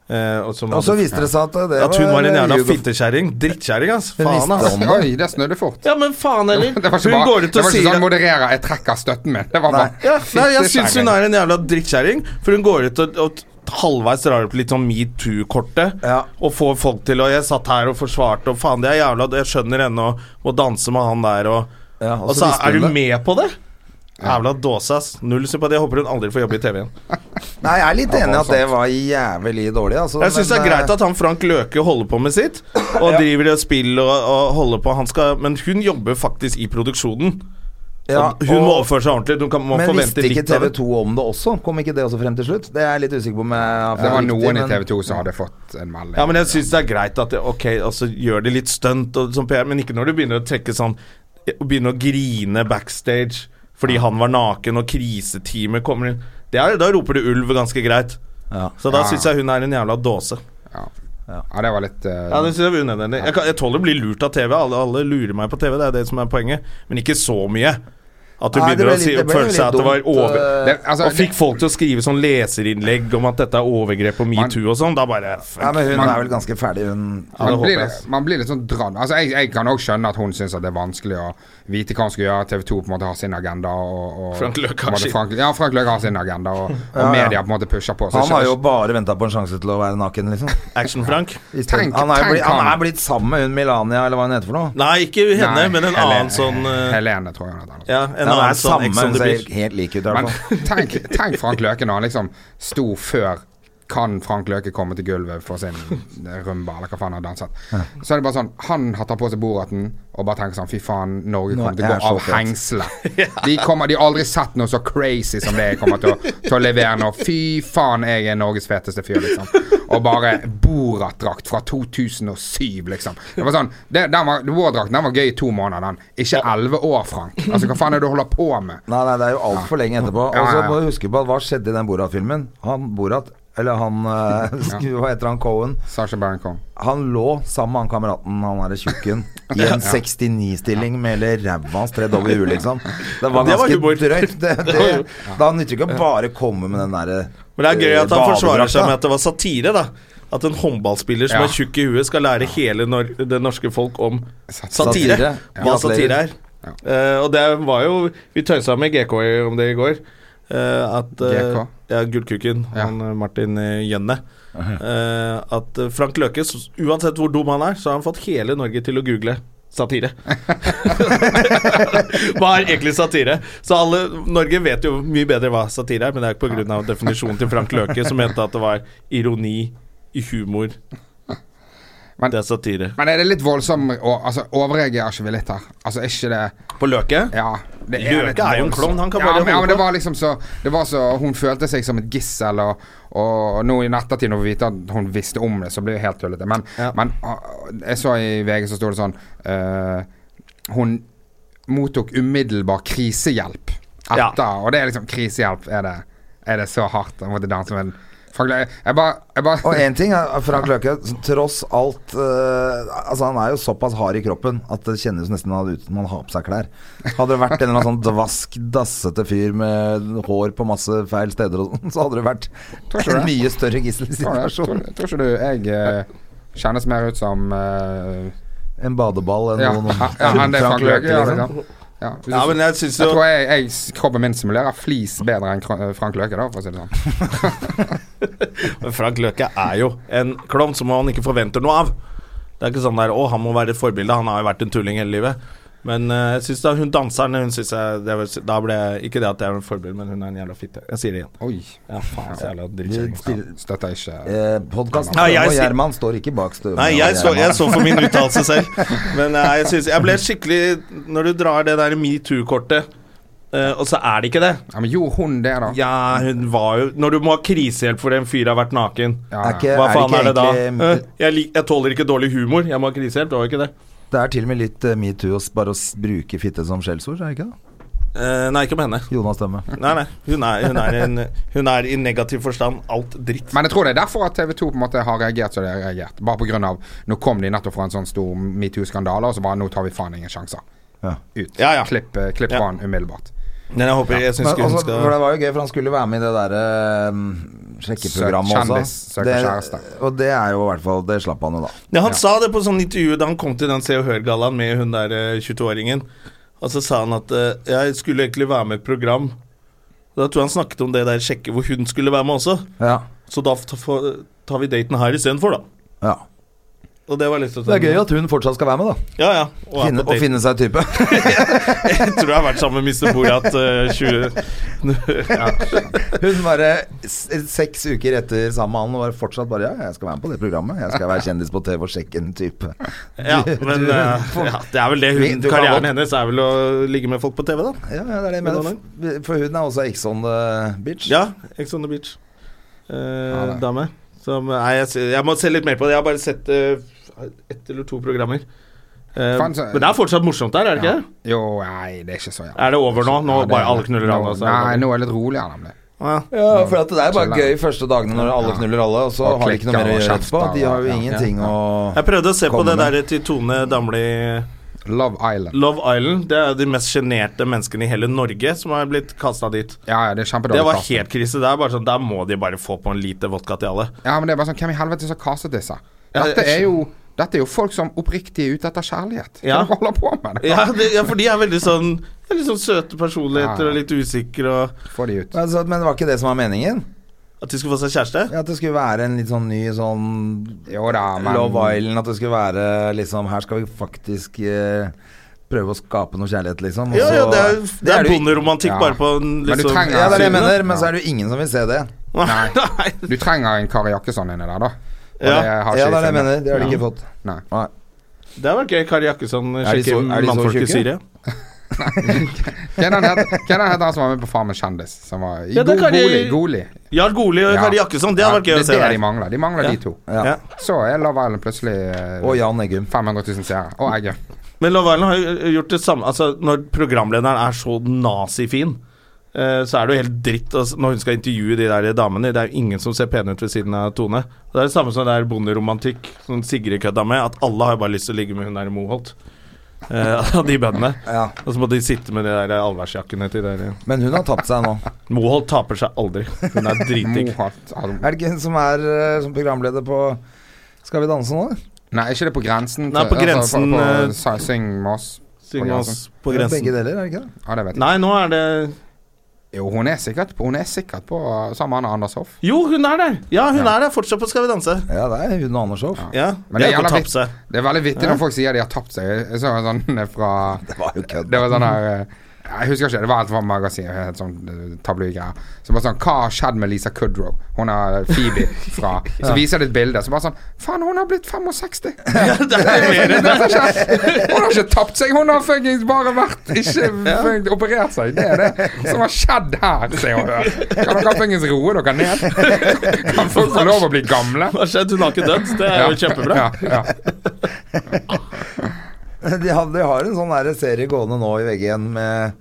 Eh, og som Og så hadde- viste det seg at det At hun var en jævla Hugo- fittekjerring. Drittkjerring, ass. Hun Faen, visste ass. om det. Oi, det snudde fort. Ja, men faen heller. Det var ikke, Hun går bare, ut det og var ikke sier sånn modererer, jeg trekker støtten min. Det var bare Nei. ja, Nei, jeg syns hun Fittekjerring. er en jævla drittkjerring. For hun går ut og, og halvveis drar opp litt sånn metoo-kortet. Ja. Og får folk til Og jeg satt her og forsvarte, og faen, det er jævla Jeg skjønner henne og må danse med han der, og Ja, Og og så så visste er du hun det. med på det? Jævla dåse, ass. Null sympati. Jeg håper hun aldri får jobbe i TV igjen. Nei, jeg er litt Ja, enig i at sant. det var jævlig dårlig. Altså, Jeg syns det er greit at han Frank Løke holder på med sitt, og driver og spiller og, og holder på. Han skal, men hun jobber faktisk i produksjonen. Og hun må oppføre seg ordentlig. Hun kan, må Men forvente visste ikke litt av det. TV2 om det også? Kom ikke det også frem til slutt? Det er jeg litt usikker på om jeg har Det fått var riktig, noen i men- TV 2 som hadde fått en melding. Ja, men jeg syns det er greit at det, Ok, altså gjør det litt stunt og som PR, men ikke når du begynner å trekke sånn og Begynner å grine backstage fordi han var naken, og kriseteamet kommer inn. Det er, da roper du ulv ganske greit. Ja. Så da Ja. syns jeg hun er en jævla dåse. ja. ja, det var litt eh, Ja, det synes jeg var unødvendig. Jeg, kan, jeg tåler å bli lurt av TV. Alle, alle lurer meg på TV, det er det som er poenget. Men ikke så mye. At du Nei, det begynner ble å si, litt- det ble føle litt seg at det var dumt, over... eh, det, altså, og fikk folk til å skrive sånn leserinnlegg om at dette er overgrep og metoo og sånn. Da bare Ja, fuck. men hun Man- er vel ganske ferdig, hun Ja, det man, blir håper jeg. litt, man blir litt sånn dradd. Altså, jeg, jeg kan òg skjønne at hun syns det er vanskelig å vite hva hun skal gjøre. TV 2 på en måte har sin agenda. Og, og, Frank Løke har på en måte sin. Frank, ja, Frank Løke har sin agenda, og, og Ja, ja. media på en måte pusher på. så Han har skjø- jo bare venta på en sjanse til å være naken, liksom. Action-Frank. I stedet- Tenk- han, er jo tenk blitt, han han. er blitt sammen med hun Melania, eller hva hun heter for noe. Nei, ikke henne, Nei, men en Helene- annen sånn eh, Helene, tror jeg hun heter. Ja, en Ja, han er annen sånn sammen, Ex on the ser Beach. helt lik ut i hvert Men fall. tenk, tenk Frank Løke når han liksom sto før kan Frank Løke komme til gulvet for sin rumba, eller hva faen han har danset. Så er det bare sånn Han har tatt på seg boraten og bare tenker sånn Fy faen, Norge Nå kommer til er å jeg gå så av fet. hengselet. De, kommer, de har aldri sett noe så crazy som det jeg kommer til å, til å levere nå. Fy faen, jeg er Norges feteste fyr, liksom. Og bare Borat-drakt fra 2007, liksom. Det var sånn det, den var, Vår-drakten den var gøy i to måneder, den. Ikke elleve år, Frank. Altså, hva faen er det du holder på med? Nei, nei, det er jo altfor lenge etterpå. Ja, Og så ja, ja. må du huske på at hva skjedde i den Borat-filmen. Han Borat, eller han eh, Hva heter han? Cohen. Sasha Baron Cohen. Han lå sammen med han kameraten, han derre tjukken, i en 69-stilling med hele ræva hans tredd over huet, liksom. Det var Det var ganske humor. drøyt. Det, det, da nytter det ikke å bare komme med den derre Men det er gøy eh, at han forsvarer seg badedrakta. med at det var satire, da. At en håndballspiller som Ja. er tjukk i huet, skal lære hele nor det norske folk om Sat- satire. satire. Hva Ja. satire er. Eh, og det var jo Vi tøysa med GK om det i går. eh, at eh, GK? Ja, Gullkuken. Ja. Han eh, Martin eh, Jønne. Eh, at eh, Frank Løke, s- uansett hvor dum han er, så har han fått hele Norge til å google satire. hva er egentlig satire? Så alle, Norge vet jo mye bedre hva satire er, men det er ikke pga. definisjonen til Frank Løke, som mente at det var ironi, humor Men- Det er satire. Men er det litt voldsom og, altså, Overreagerer ikke vi litt her? Altså, er ikke det På Løke? Ja. Det Løke litt er jo voldsomt. en klovn, han kan ja, bare men, ja, holde men det på. var liksom så, det var så Hun følte seg som et gissel, og, og nå i ettertid, når vi vite at hun visste om det, så ble det helt tullete. Men, Ja. men ah, jeg så i VG så sto det sånn eh, Hun mottok umiddelbar krisehjelp etter, Ja. og det er liksom Krisehjelp er det, er det så hardt å måtte danse med en faglig Jeg bare, jeg bare Og én ting er at Frank Løke, som tross alt eh, Altså Han er jo såpass hard i kroppen at det kjennes nesten ut som han har på seg klær. Hadde det vært en eller annen sånn dvask, dassete fyr med hår på masse feil steder og sånn, så hadde det vært Tror ikke en det. mye tror, større jeg, tror, gisselsituasjon. tror ikke du jeg eh, kjennes mer ut som eh, En badeball enn Ja, noen ja, ja, han det er Frank Løke, ja, liksom. liksom. Ja, hvis du- Ja, men jeg syns jeg jo tror jeg, jeg, kroppen min simulerer flis bedre enn Kra- eh, Frank Løke, da, for å si det sånn. Men Frank Løke er jo en klovn som han ikke forventer noe av. Det er ikke sånn der 'Å, han må være et forbilde', han har jo vært en tulling hele livet. Men eh, jeg synes da hun danseren hun synes jeg, det var, Da ble jeg Ikke det at jeg er en forbilde, men hun er en jævla fitte. Jeg sier det igjen. Oi. Ja, faen, så jævla Vi drittkjerring. stiller- Støtter ikke Eh, Podkasten Nei, jeg og sier- Gjerman står ikke bak støvelen. Nei, jeg så, jeg så for min uttalelse selv. Men eh, jeg synes Jeg ble skikkelig Når du drar det der metoo-kortet, eh, og så er det ikke det. Ja, men gjorde hun det, da? Ja, hun var jo Når du må ha krisehjelp fordi en fyr har vært naken. Ja, ja. Er ikke, Hva er det faen ikke er det da? egentlig Eh, Jeg, lik- jeg tåler ikke dårlig humor. Jeg må ha krisehjelp. Det var jo ikke det. Det er til og med litt eh, metoo å s- bare å s- bruke fitte som skjellsord, er det ikke det? Eh, nei, ikke med henne. Jonas Dømme. Nei, nei. Hun er, hun, er en, hun er i negativ forstand alt dritt. Men jeg tror det er derfor at TV2 på en måte har reagert som de har reagert. Bare på grunn av Nå kom de nettopp fra en sånn stor metoo-skandale, og så bare Nå tar vi faen ingen sjanser. Ja. Ut. Ja, ja. Klipp, eh, klipp Ja. fra han umiddelbart. Men jeg håper Jeg syns Men altså, ikke hun også, for skal det var jo gøy, for han skulle være med i det derre eh, sjekkeprogrammet Søk- også. kjendis, søker kjæreste. og det er jo i hvert fall Det slapp han jo, da. ja, Han sa det på sånn intervju da han kom til den Se og Hør-gallaen med hun der eh, 22-åringen. Og så sa han at eh, 'jeg skulle egentlig være med i et program'. Da tror jeg han snakket om det der sjekket hvor hun skulle være med også. Ja. Så da f- får- tar vi daten her istedenfor, da. ja. Og det var litt sånn Det er gøy at hun fortsatt skal være med, da. Ja, ja. Og er Finne, på og date. finne seg type. Jeg tror jeg har vært sammen med Mr. Borat eh, 20 ja. Hun bare s- seks uker etter sammen med han og var fortsatt bare Ja, jeg skal være med på det programmet. Jeg skal være kjendis på TV og sjekke en type. Ja, men du- eh, ja, det er vel det hun, Du kan karrieren godt- hennes er vel å ligge med folk på TV, da. Ja, ja, det er det jeg mener. For hun er også ex on the bitch. Ja, Ex on the beach. Eh, dame. Som, nei, jeg, ser- jeg må se litt mer på det. Jeg har bare sett eh, ett eller to programmer. Eh, Faen, så- men det er fortsatt morsomt der, er det ikke? det? Jo, nei, det er ikke så jævlig. Er det over nå? Nå Ja, det- bare alle knuller alle, nå- altså. og så er det Nei, over. nå er det litt roligere, nemlig. Ja. Ja, for at det er bare Chill out. gøy første dagene når alle Ja. knuller alle, og så Og har de ikke klikker noe mer å og gjøre kjefter etterpå. De har jo og- ja. ingenting å Jeg prøvde å se på Kom det med. der til Tone Damli Love Island. Love Island. Det er jo de mest sjenerte menneskene i hele Norge som har blitt kasta dit. Ja, ja, det er kjempedårlig Det var casting. helt krise. Det er bare sånn, Der må de bare få på en liter vodka til alle. Ja, men det er bare sånn Hvem i helvete som har castet disse? Ja, Dette jeg- er jo Dette er jo folk som oppriktig er ute etter kjærlighet. Hva Ja. er det de holder på med? det? Ja, det, ja for de er veldig sånn de er Litt sånn søte personligheter Ja. og litt usikre og Få de ut. Men altså, Men det var ikke det som var meningen? At de skulle få seg kjæreste? Ja, At det skulle være en litt sånn ny sånn Jo da, men Love Island, at det skulle være liksom Her skal vi faktisk eh, prøve å skape noe kjærlighet, liksom. og Ja, ja, så- det er, det er det jo- bonderomantikk ja. bare på en Men du liksom, trenger- Ja, det er det jeg sidene. mener, men så er det jo ingen som vil se det. Nei. Nei. Du trenger en Kari Jakkesson inni der, da. Og Ja. har Ja, ikke det er det jeg de filmet. mener. Det har de Ja. ikke fått. Nei. Nei. Det hadde vært gøy. Kari Jakkesson de sjekker så- er de så mannfolk i tjukke? Syria. Hva er det han het- hva er det han heter, han som var med på Farmen kjendis? Som var i Ja, det er Go- Kari- Goli- Goli. Jarl Goli og Ja. Kari Jakkesson, det hadde vært gøy Ja, å se. Det er det der. de mangler. De mangler de to. Ja. Ja. Så er Love Island plutselig eh, Og Jan Eggum. 500 000 seere. Og Egge. Men Love Island har jo gjort det samme Altså, når programlederen er så nazifin eh, så er det jo helt dritt altså, når hun skal intervjue de der damene. Det er jo ingen som ser pene ut ved siden av Tone. Det er det samme som det er bonderomantikk som Sigrid kødda med, at alle har jo bare lyst til å ligge med hun der Moholt. Eh, Av de bøndene. Ja. Og så må de sitte med de der allværsjakkene til de der Men hun har tapt seg nå. Moholt taper seg aldri. Hun er dritdigg. Moholt. Al- Er det ikke hun som er eh, som programleder på Skal vi danse nå? Nei, ikke det på grensen? Nei, til- altså, på grensen, på, eh, på, sa- Syng med oss. Syng med oss på Eller Eh, Begge grensen. deler, er det ikke det? Ja, det vet jeg. Nei, nå er det Jo, hun er sikkert på, hun er sikkert på uh, sammen med han Anders Hoff. Jo, hun er der! Ja, hun er der fortsatt på Skal vi danse. Ja, det er hun og Anders Hoff. Ja. Men det Det er er ikke å jævla tape seg. Det er veldig vittig når folk sier de har tapt seg. Jeg så en sånn eh, fra Det var jo kødd. Det var sånn her eh, Jeg husker ikke, det var alt fra magasin, helt sånn eh, tabloidgreier. Så bare sånn Hva har skjedd med Lisa Kudrow? Hun er Phoebe fra Så viser de et bilde, så bare sånn Faen, hun har blitt 65! Ja, det er mer enn Det har ikke- Hun har ikke tapt seg, hun har fuckings bare vært Ikke fucking operert seg. Det er det som har skjedd her, se og hør. Kan dere fuckings roe dere ned? Kan folk få lov å bli gamle? Hva har skjedd? Hun har ikke dødd. Det er jo kjempebra. Ja, ja. De har, de har en sånn der serie gående nå i VG1 med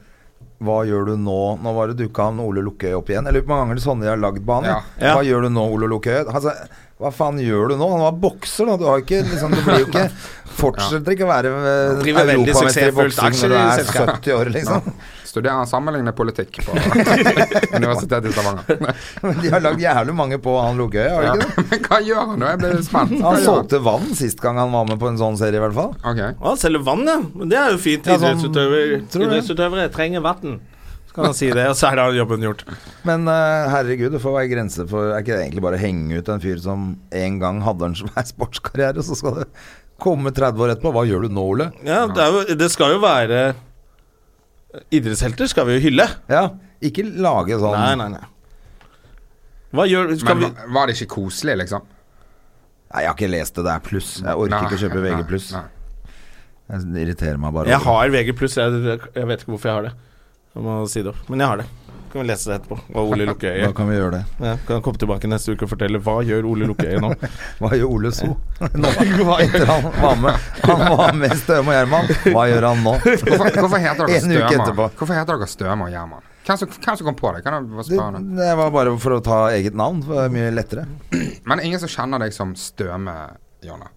Hva gjør du nå? Nå var det dukka han Ole Lukkøy opp igjen. Jeg lurer på hvor mange ganger sånne de har lagd banen. Ja. Ja. Hva gjør du nå, Ole Lukkøy? Altså, hva faen gjør du nå? Han var bokser, da. Du har ikke liksom, Du blir jo ikke Fortsetter ikke å være eh, Driver veldig europamester i suksessfullt boksing når du er aksjeselskap. 70 år, liksom. Studerer sammenlignende politikk på Universitetet i Stavanger. Men de har lagd jævlig mange på han Lukkøy, har de Ja. ikke det? Men hva gjør han nå? Jeg blir spent. Hva Han gjør solgte vann sist gang han var med på en sånn serie, i hvert fall. Ok. Å, han selger vann, ja. Men det er jo fint. Ja, sånn- Idrettsutøver tror du det? Idrettsutøvere trenger vann. Så kan han si det, og så er da jobben gjort. Men eh, herregud, det får være grenser for Er ikke det egentlig bare å henge ut en fyr som en gang hadde en svær sportskarriere, så skal det komme 30 år etterpå? Hva gjør du nå, Ole? Ja, det, er jo, det skal jo være Idrettshelter skal vi jo hylle. Ja, ikke lage sånn Nei, nei, nei. Hva gjør Skal Men vi va- var det ikke koselig, liksom? Nei, jeg har ikke lest det, det er pluss. Jeg orker Nei, ikke å kjøpe nei, VG pluss. nei. Det irriterer meg bare. Jeg har VG+, jeg, jeg vet ikke hvorfor jeg har det. Jeg må si det opp. Men jeg har det. Kan vi lese det etterpå. Hva Ole Lukkøye Da gjør. kan vi gjøre det. Ja, kan komme tilbake neste uke og fortelle hva gjør Ole Lukkøye nå. Hva gjør Ole So nå? Etter han var med, han var med Støme og Gjerman. Hva gjør han nå? Hvorfor, hvorfor heter dere En uke Stømer? etterpå. Hvorfor heter dere Stømer og Gjerman? Hvem, som- hvem som kom på det? Kan jeg bare Det, spørre noe? det var bare for å ta eget navn. for Det er mye lettere. Men ingen som kjenner deg som Støme, Jonna.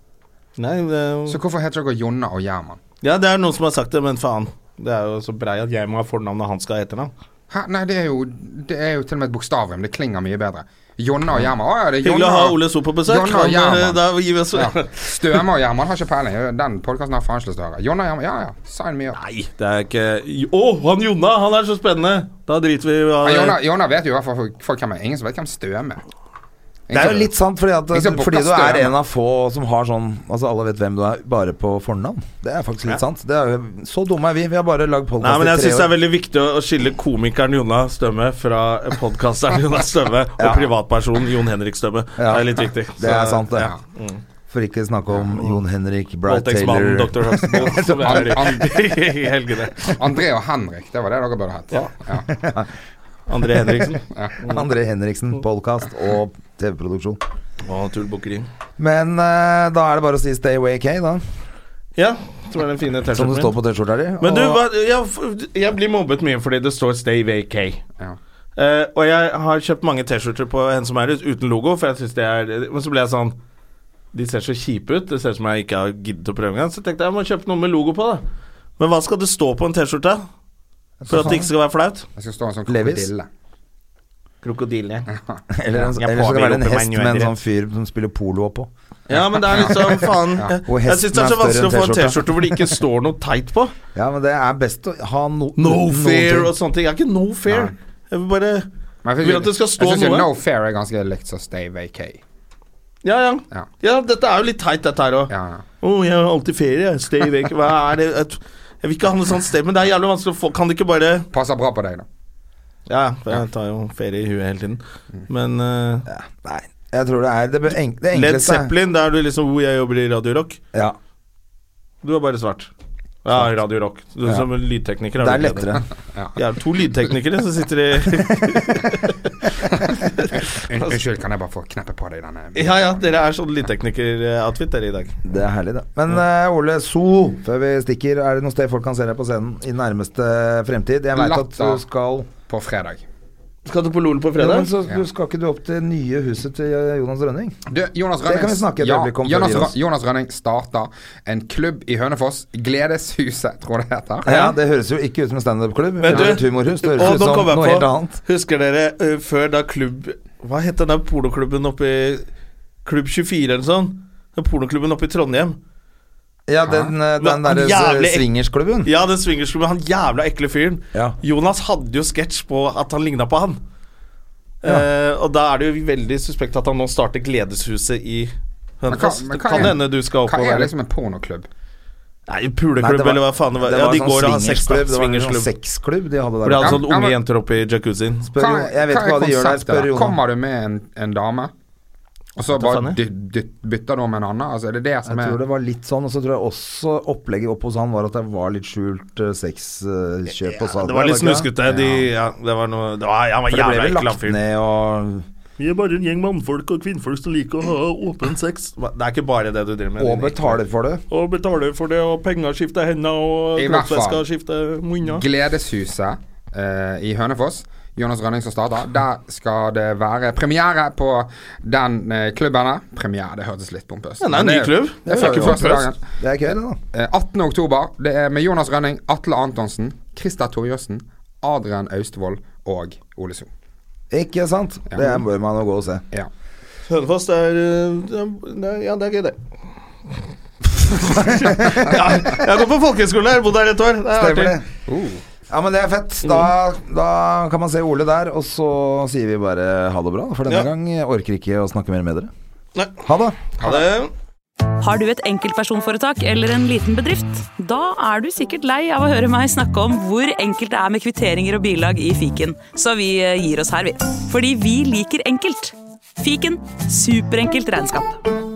Nei, det er jo Så hvorfor heter dere Jonna og Gjerman? Ja, det er noen som har sagt det, men faen. Det er jo så brei at jeg må ha fornavn og han skal ha etternavn. Hæ? Nei, det er, jo, det er jo til og med et bokstavrim. Det klinger mye bedre. Jonna og Gjerman. Å ja, det er Hyggelig Jonna å ha Ole So på besøk. Jonna og men, eh, Gjerman. da gir vi oss Ja. Støme og Gjerman har ikke peiling. Den podkasten har faen ikke lyst til å høre. Jonna og Gjerman, ja ja. Sign me up. Nei, det er ikke Å, han Jonna! Han er så spennende! Da driter vi i hva Ja, det Jonna, Jonna vet jo i hvert fall folk hvem er. Ingen som vet hvem Støme er. Det er jo litt sant, fordi, at, Liksom fordi du er Bokkastøen. en av få som har sånn Altså alle vet hvem du er, bare på fornavn. Det er faktisk litt sant. Det er, jo- så dumme er vi. Vi har bare lagd Nei, men jeg podkast syns det Altså, i tre er år. veldig viktig å å skille komikeren Jonna Stømme fra podkasteren Jonna Stømme og privatpersonen Jon Henrik Stømme. Det Ja. er litt viktig. eh, Det er sant, det. Mm. ja. For ikke snakke om Jon Henrik, Bright Taylor Voldtektsmannen Dr. Huxtable. som er i helgene. André og Henrik, det var det dere burde hett. Ja. Ja. André Henriksen André Henriksen, podkast og TV-produksjon. og Tull Bukkeri. Men eh, da er det bare å si Stay Away K, da. Ja, som er den fine Som det T-skjorten står min. på T-skjorta di. Men du, Og- hva, jeg, f- jeg blir mobbet mye fordi det står Stay Vacay. Ja. Eh, og jeg har kjøpt mange T-skjorter på en som er ut, uten logo, for jeg synes det er Men så ble jeg sånn De ser så kjipe ut. Det ser ut som jeg ikke har giddet å prøve engang. Så tenkte jeg jeg må kjøpe noe med logo på, da. Men hva skal det stå på en T-skjorte? For at det ikke skal være flaut? Jeg skal stå en sånn Levis? krokodille. Krokodille. Eller, en, Jeg eller så skal det være en påvirker hest meg med en jo sånn fyr som spiller polo oppå. Ja, men det er liksom Faen. Jeg, Og jeg syns det er så hesten er større vanskelig å få enn en T-skjorta. T-skjorte hvor det ikke står noe teit på. Ja, men det er best å ha no, No noen ting. fair og sånne ting. Jeg er ikke no fair. Jeg vil bare Men jeg vil at det skal stå jeg synes jo noe. No Fair er ganske likt som Stay Vacay. Ja, ja. Ja. Ja, dette er jo litt teit, dette her òg. Ja, ja. Å, jeg har alltid ferie. jeg. Stay awake. Hva er det Et- Jeg vil ikke ha noe sånt sted, men det er jævlig vanskelig å få Kan det ikke bare Passer bra på deg, da. Ja, for jeg tar jo ferie i huet hele tiden. Men eh, Ja, nei, jeg tror det er det, be- enk, det Led enkleste. Zeppelin, der er du liksom Hvor jeg jobber i Radio Rock. Ja, Du er bare svart. Ja, Radio Rock. Du Ja. som lydtekniker det er du ikke lettere. Ja, to lydteknikere som sitter i Un- Unnskyld, kan jeg bare få kneppe på deg denne Ja ja, dere er sånn lydteknikeroutfit dere i dag. Det er herlig, det. Men eh, Ole So, før vi stikker, er det noe sted folk kan se deg på scenen i nærmeste fremtid? Jeg veit at Latter. du skal på fredag? Skal du på LOL på Ja, men så Ja. du skal ikke du opp til nye huset til eh, Jonas Rønning? Du, Jonas Det Rønning, kan vi snakke et ja, øyeblikk om før Jonas, vi gir oss. Rø- Jonas Rønning starter en klubb i Hønefoss. Gledeshuset, tror jeg det heter. Ja, Det høres jo ikke ut som en standup-klubb. Det Men er du- et humorhus. Det Og høres ut nå som kommer noe jeg helt på annet. Husker dere ø, før da klubb Hva het den der pornoklubben oppe i Klubb 24 eller sånn? Den pornoklubben oppe i Trondheim. Ja, den, eh, den Men derre jævlig- s- swingersklubben. Ja, den swingersklubben. Han jævla ekle fyren. Ja. Jonas hadde jo sketsj på at han ligna på han. Eh, og da er det jo veldig suspekt at han nå starter Gledeshuset i Hønefoss. Men hva- men Det hva kan er- hende du skal opp Hva og er være liksom en pornoklubb? Nei, Nei, puleklubb det var- eller hva faen det var. det ja, var de sånn går og har sex, da. swingersklubb, Det var en sånn Swingersklubb. sexklubb de hadde Hvor det er der. oppe. altså Ja, ja, unge men- jenter oppe i jacuzzien. Spør jo- Jeg vet hva er ikke hva de gjør der. konseptet Spør da? Jonas. Kommer du med en, en dame, og så faen bare jeg. dyt, dyt, bytter du om en annen? Altså, er det det som Jeg tror er det var litt sånn, og så tror jeg også opplegget opp hos han var at det var litt skjult eh, sexkjøp og salg. Det var litt ikke det? snuskete. De, ja, det var noe det var, Han var For det ble jævla vel ekkel, han lagt fyren. ned og Vi er bare en gjeng mannfolk og kvinnfolk som liker å ha åpen sex. Det er ikke bare det du driver med. Og betaler for det. Og betaler for det, og penger skifter hender, og I hvert fall. kroppsvæsker skifter munner. Gledeshuset eh, i Hønefoss. Jonas Rønning som starter. Der skal det være premiere på den eh, klubben her. Premiere, det hørtes litt pompøst Ja, det er en Men ny klubb. Det er Det er fucking jo første pompøst. dagen. Det er kødd, da. Eh, 18. oktober. Det er med Jonas Rønning, Atle Antonsen, Christer Torjussen, Adrian Austevoll og Ole So. Ikke sant? Det er- bør man jo gå og se. Ja. Hønefoss, det er eh, det er- Ja, det er gøy, det. ja, jeg går på folkehøyskole her, bodd her et år. Det er Stemmer artig. Uh. Mm. det. Ja, men det er fett. Da, da kan man se Ole der, og så sier vi bare ha det bra. For denne Ja. gang orker ikke å snakke mer med dere. Nei. Ha det. Ha det. Har du et enkeltpersonforetak eller en liten bedrift? Da er du sikkert lei av å høre meg snakke om hvor enkelt det er med kvitteringer og bilag i fiken, så vi eh, gir oss her, vi. Fordi vi liker enkelt. Fiken superenkelt regnskap.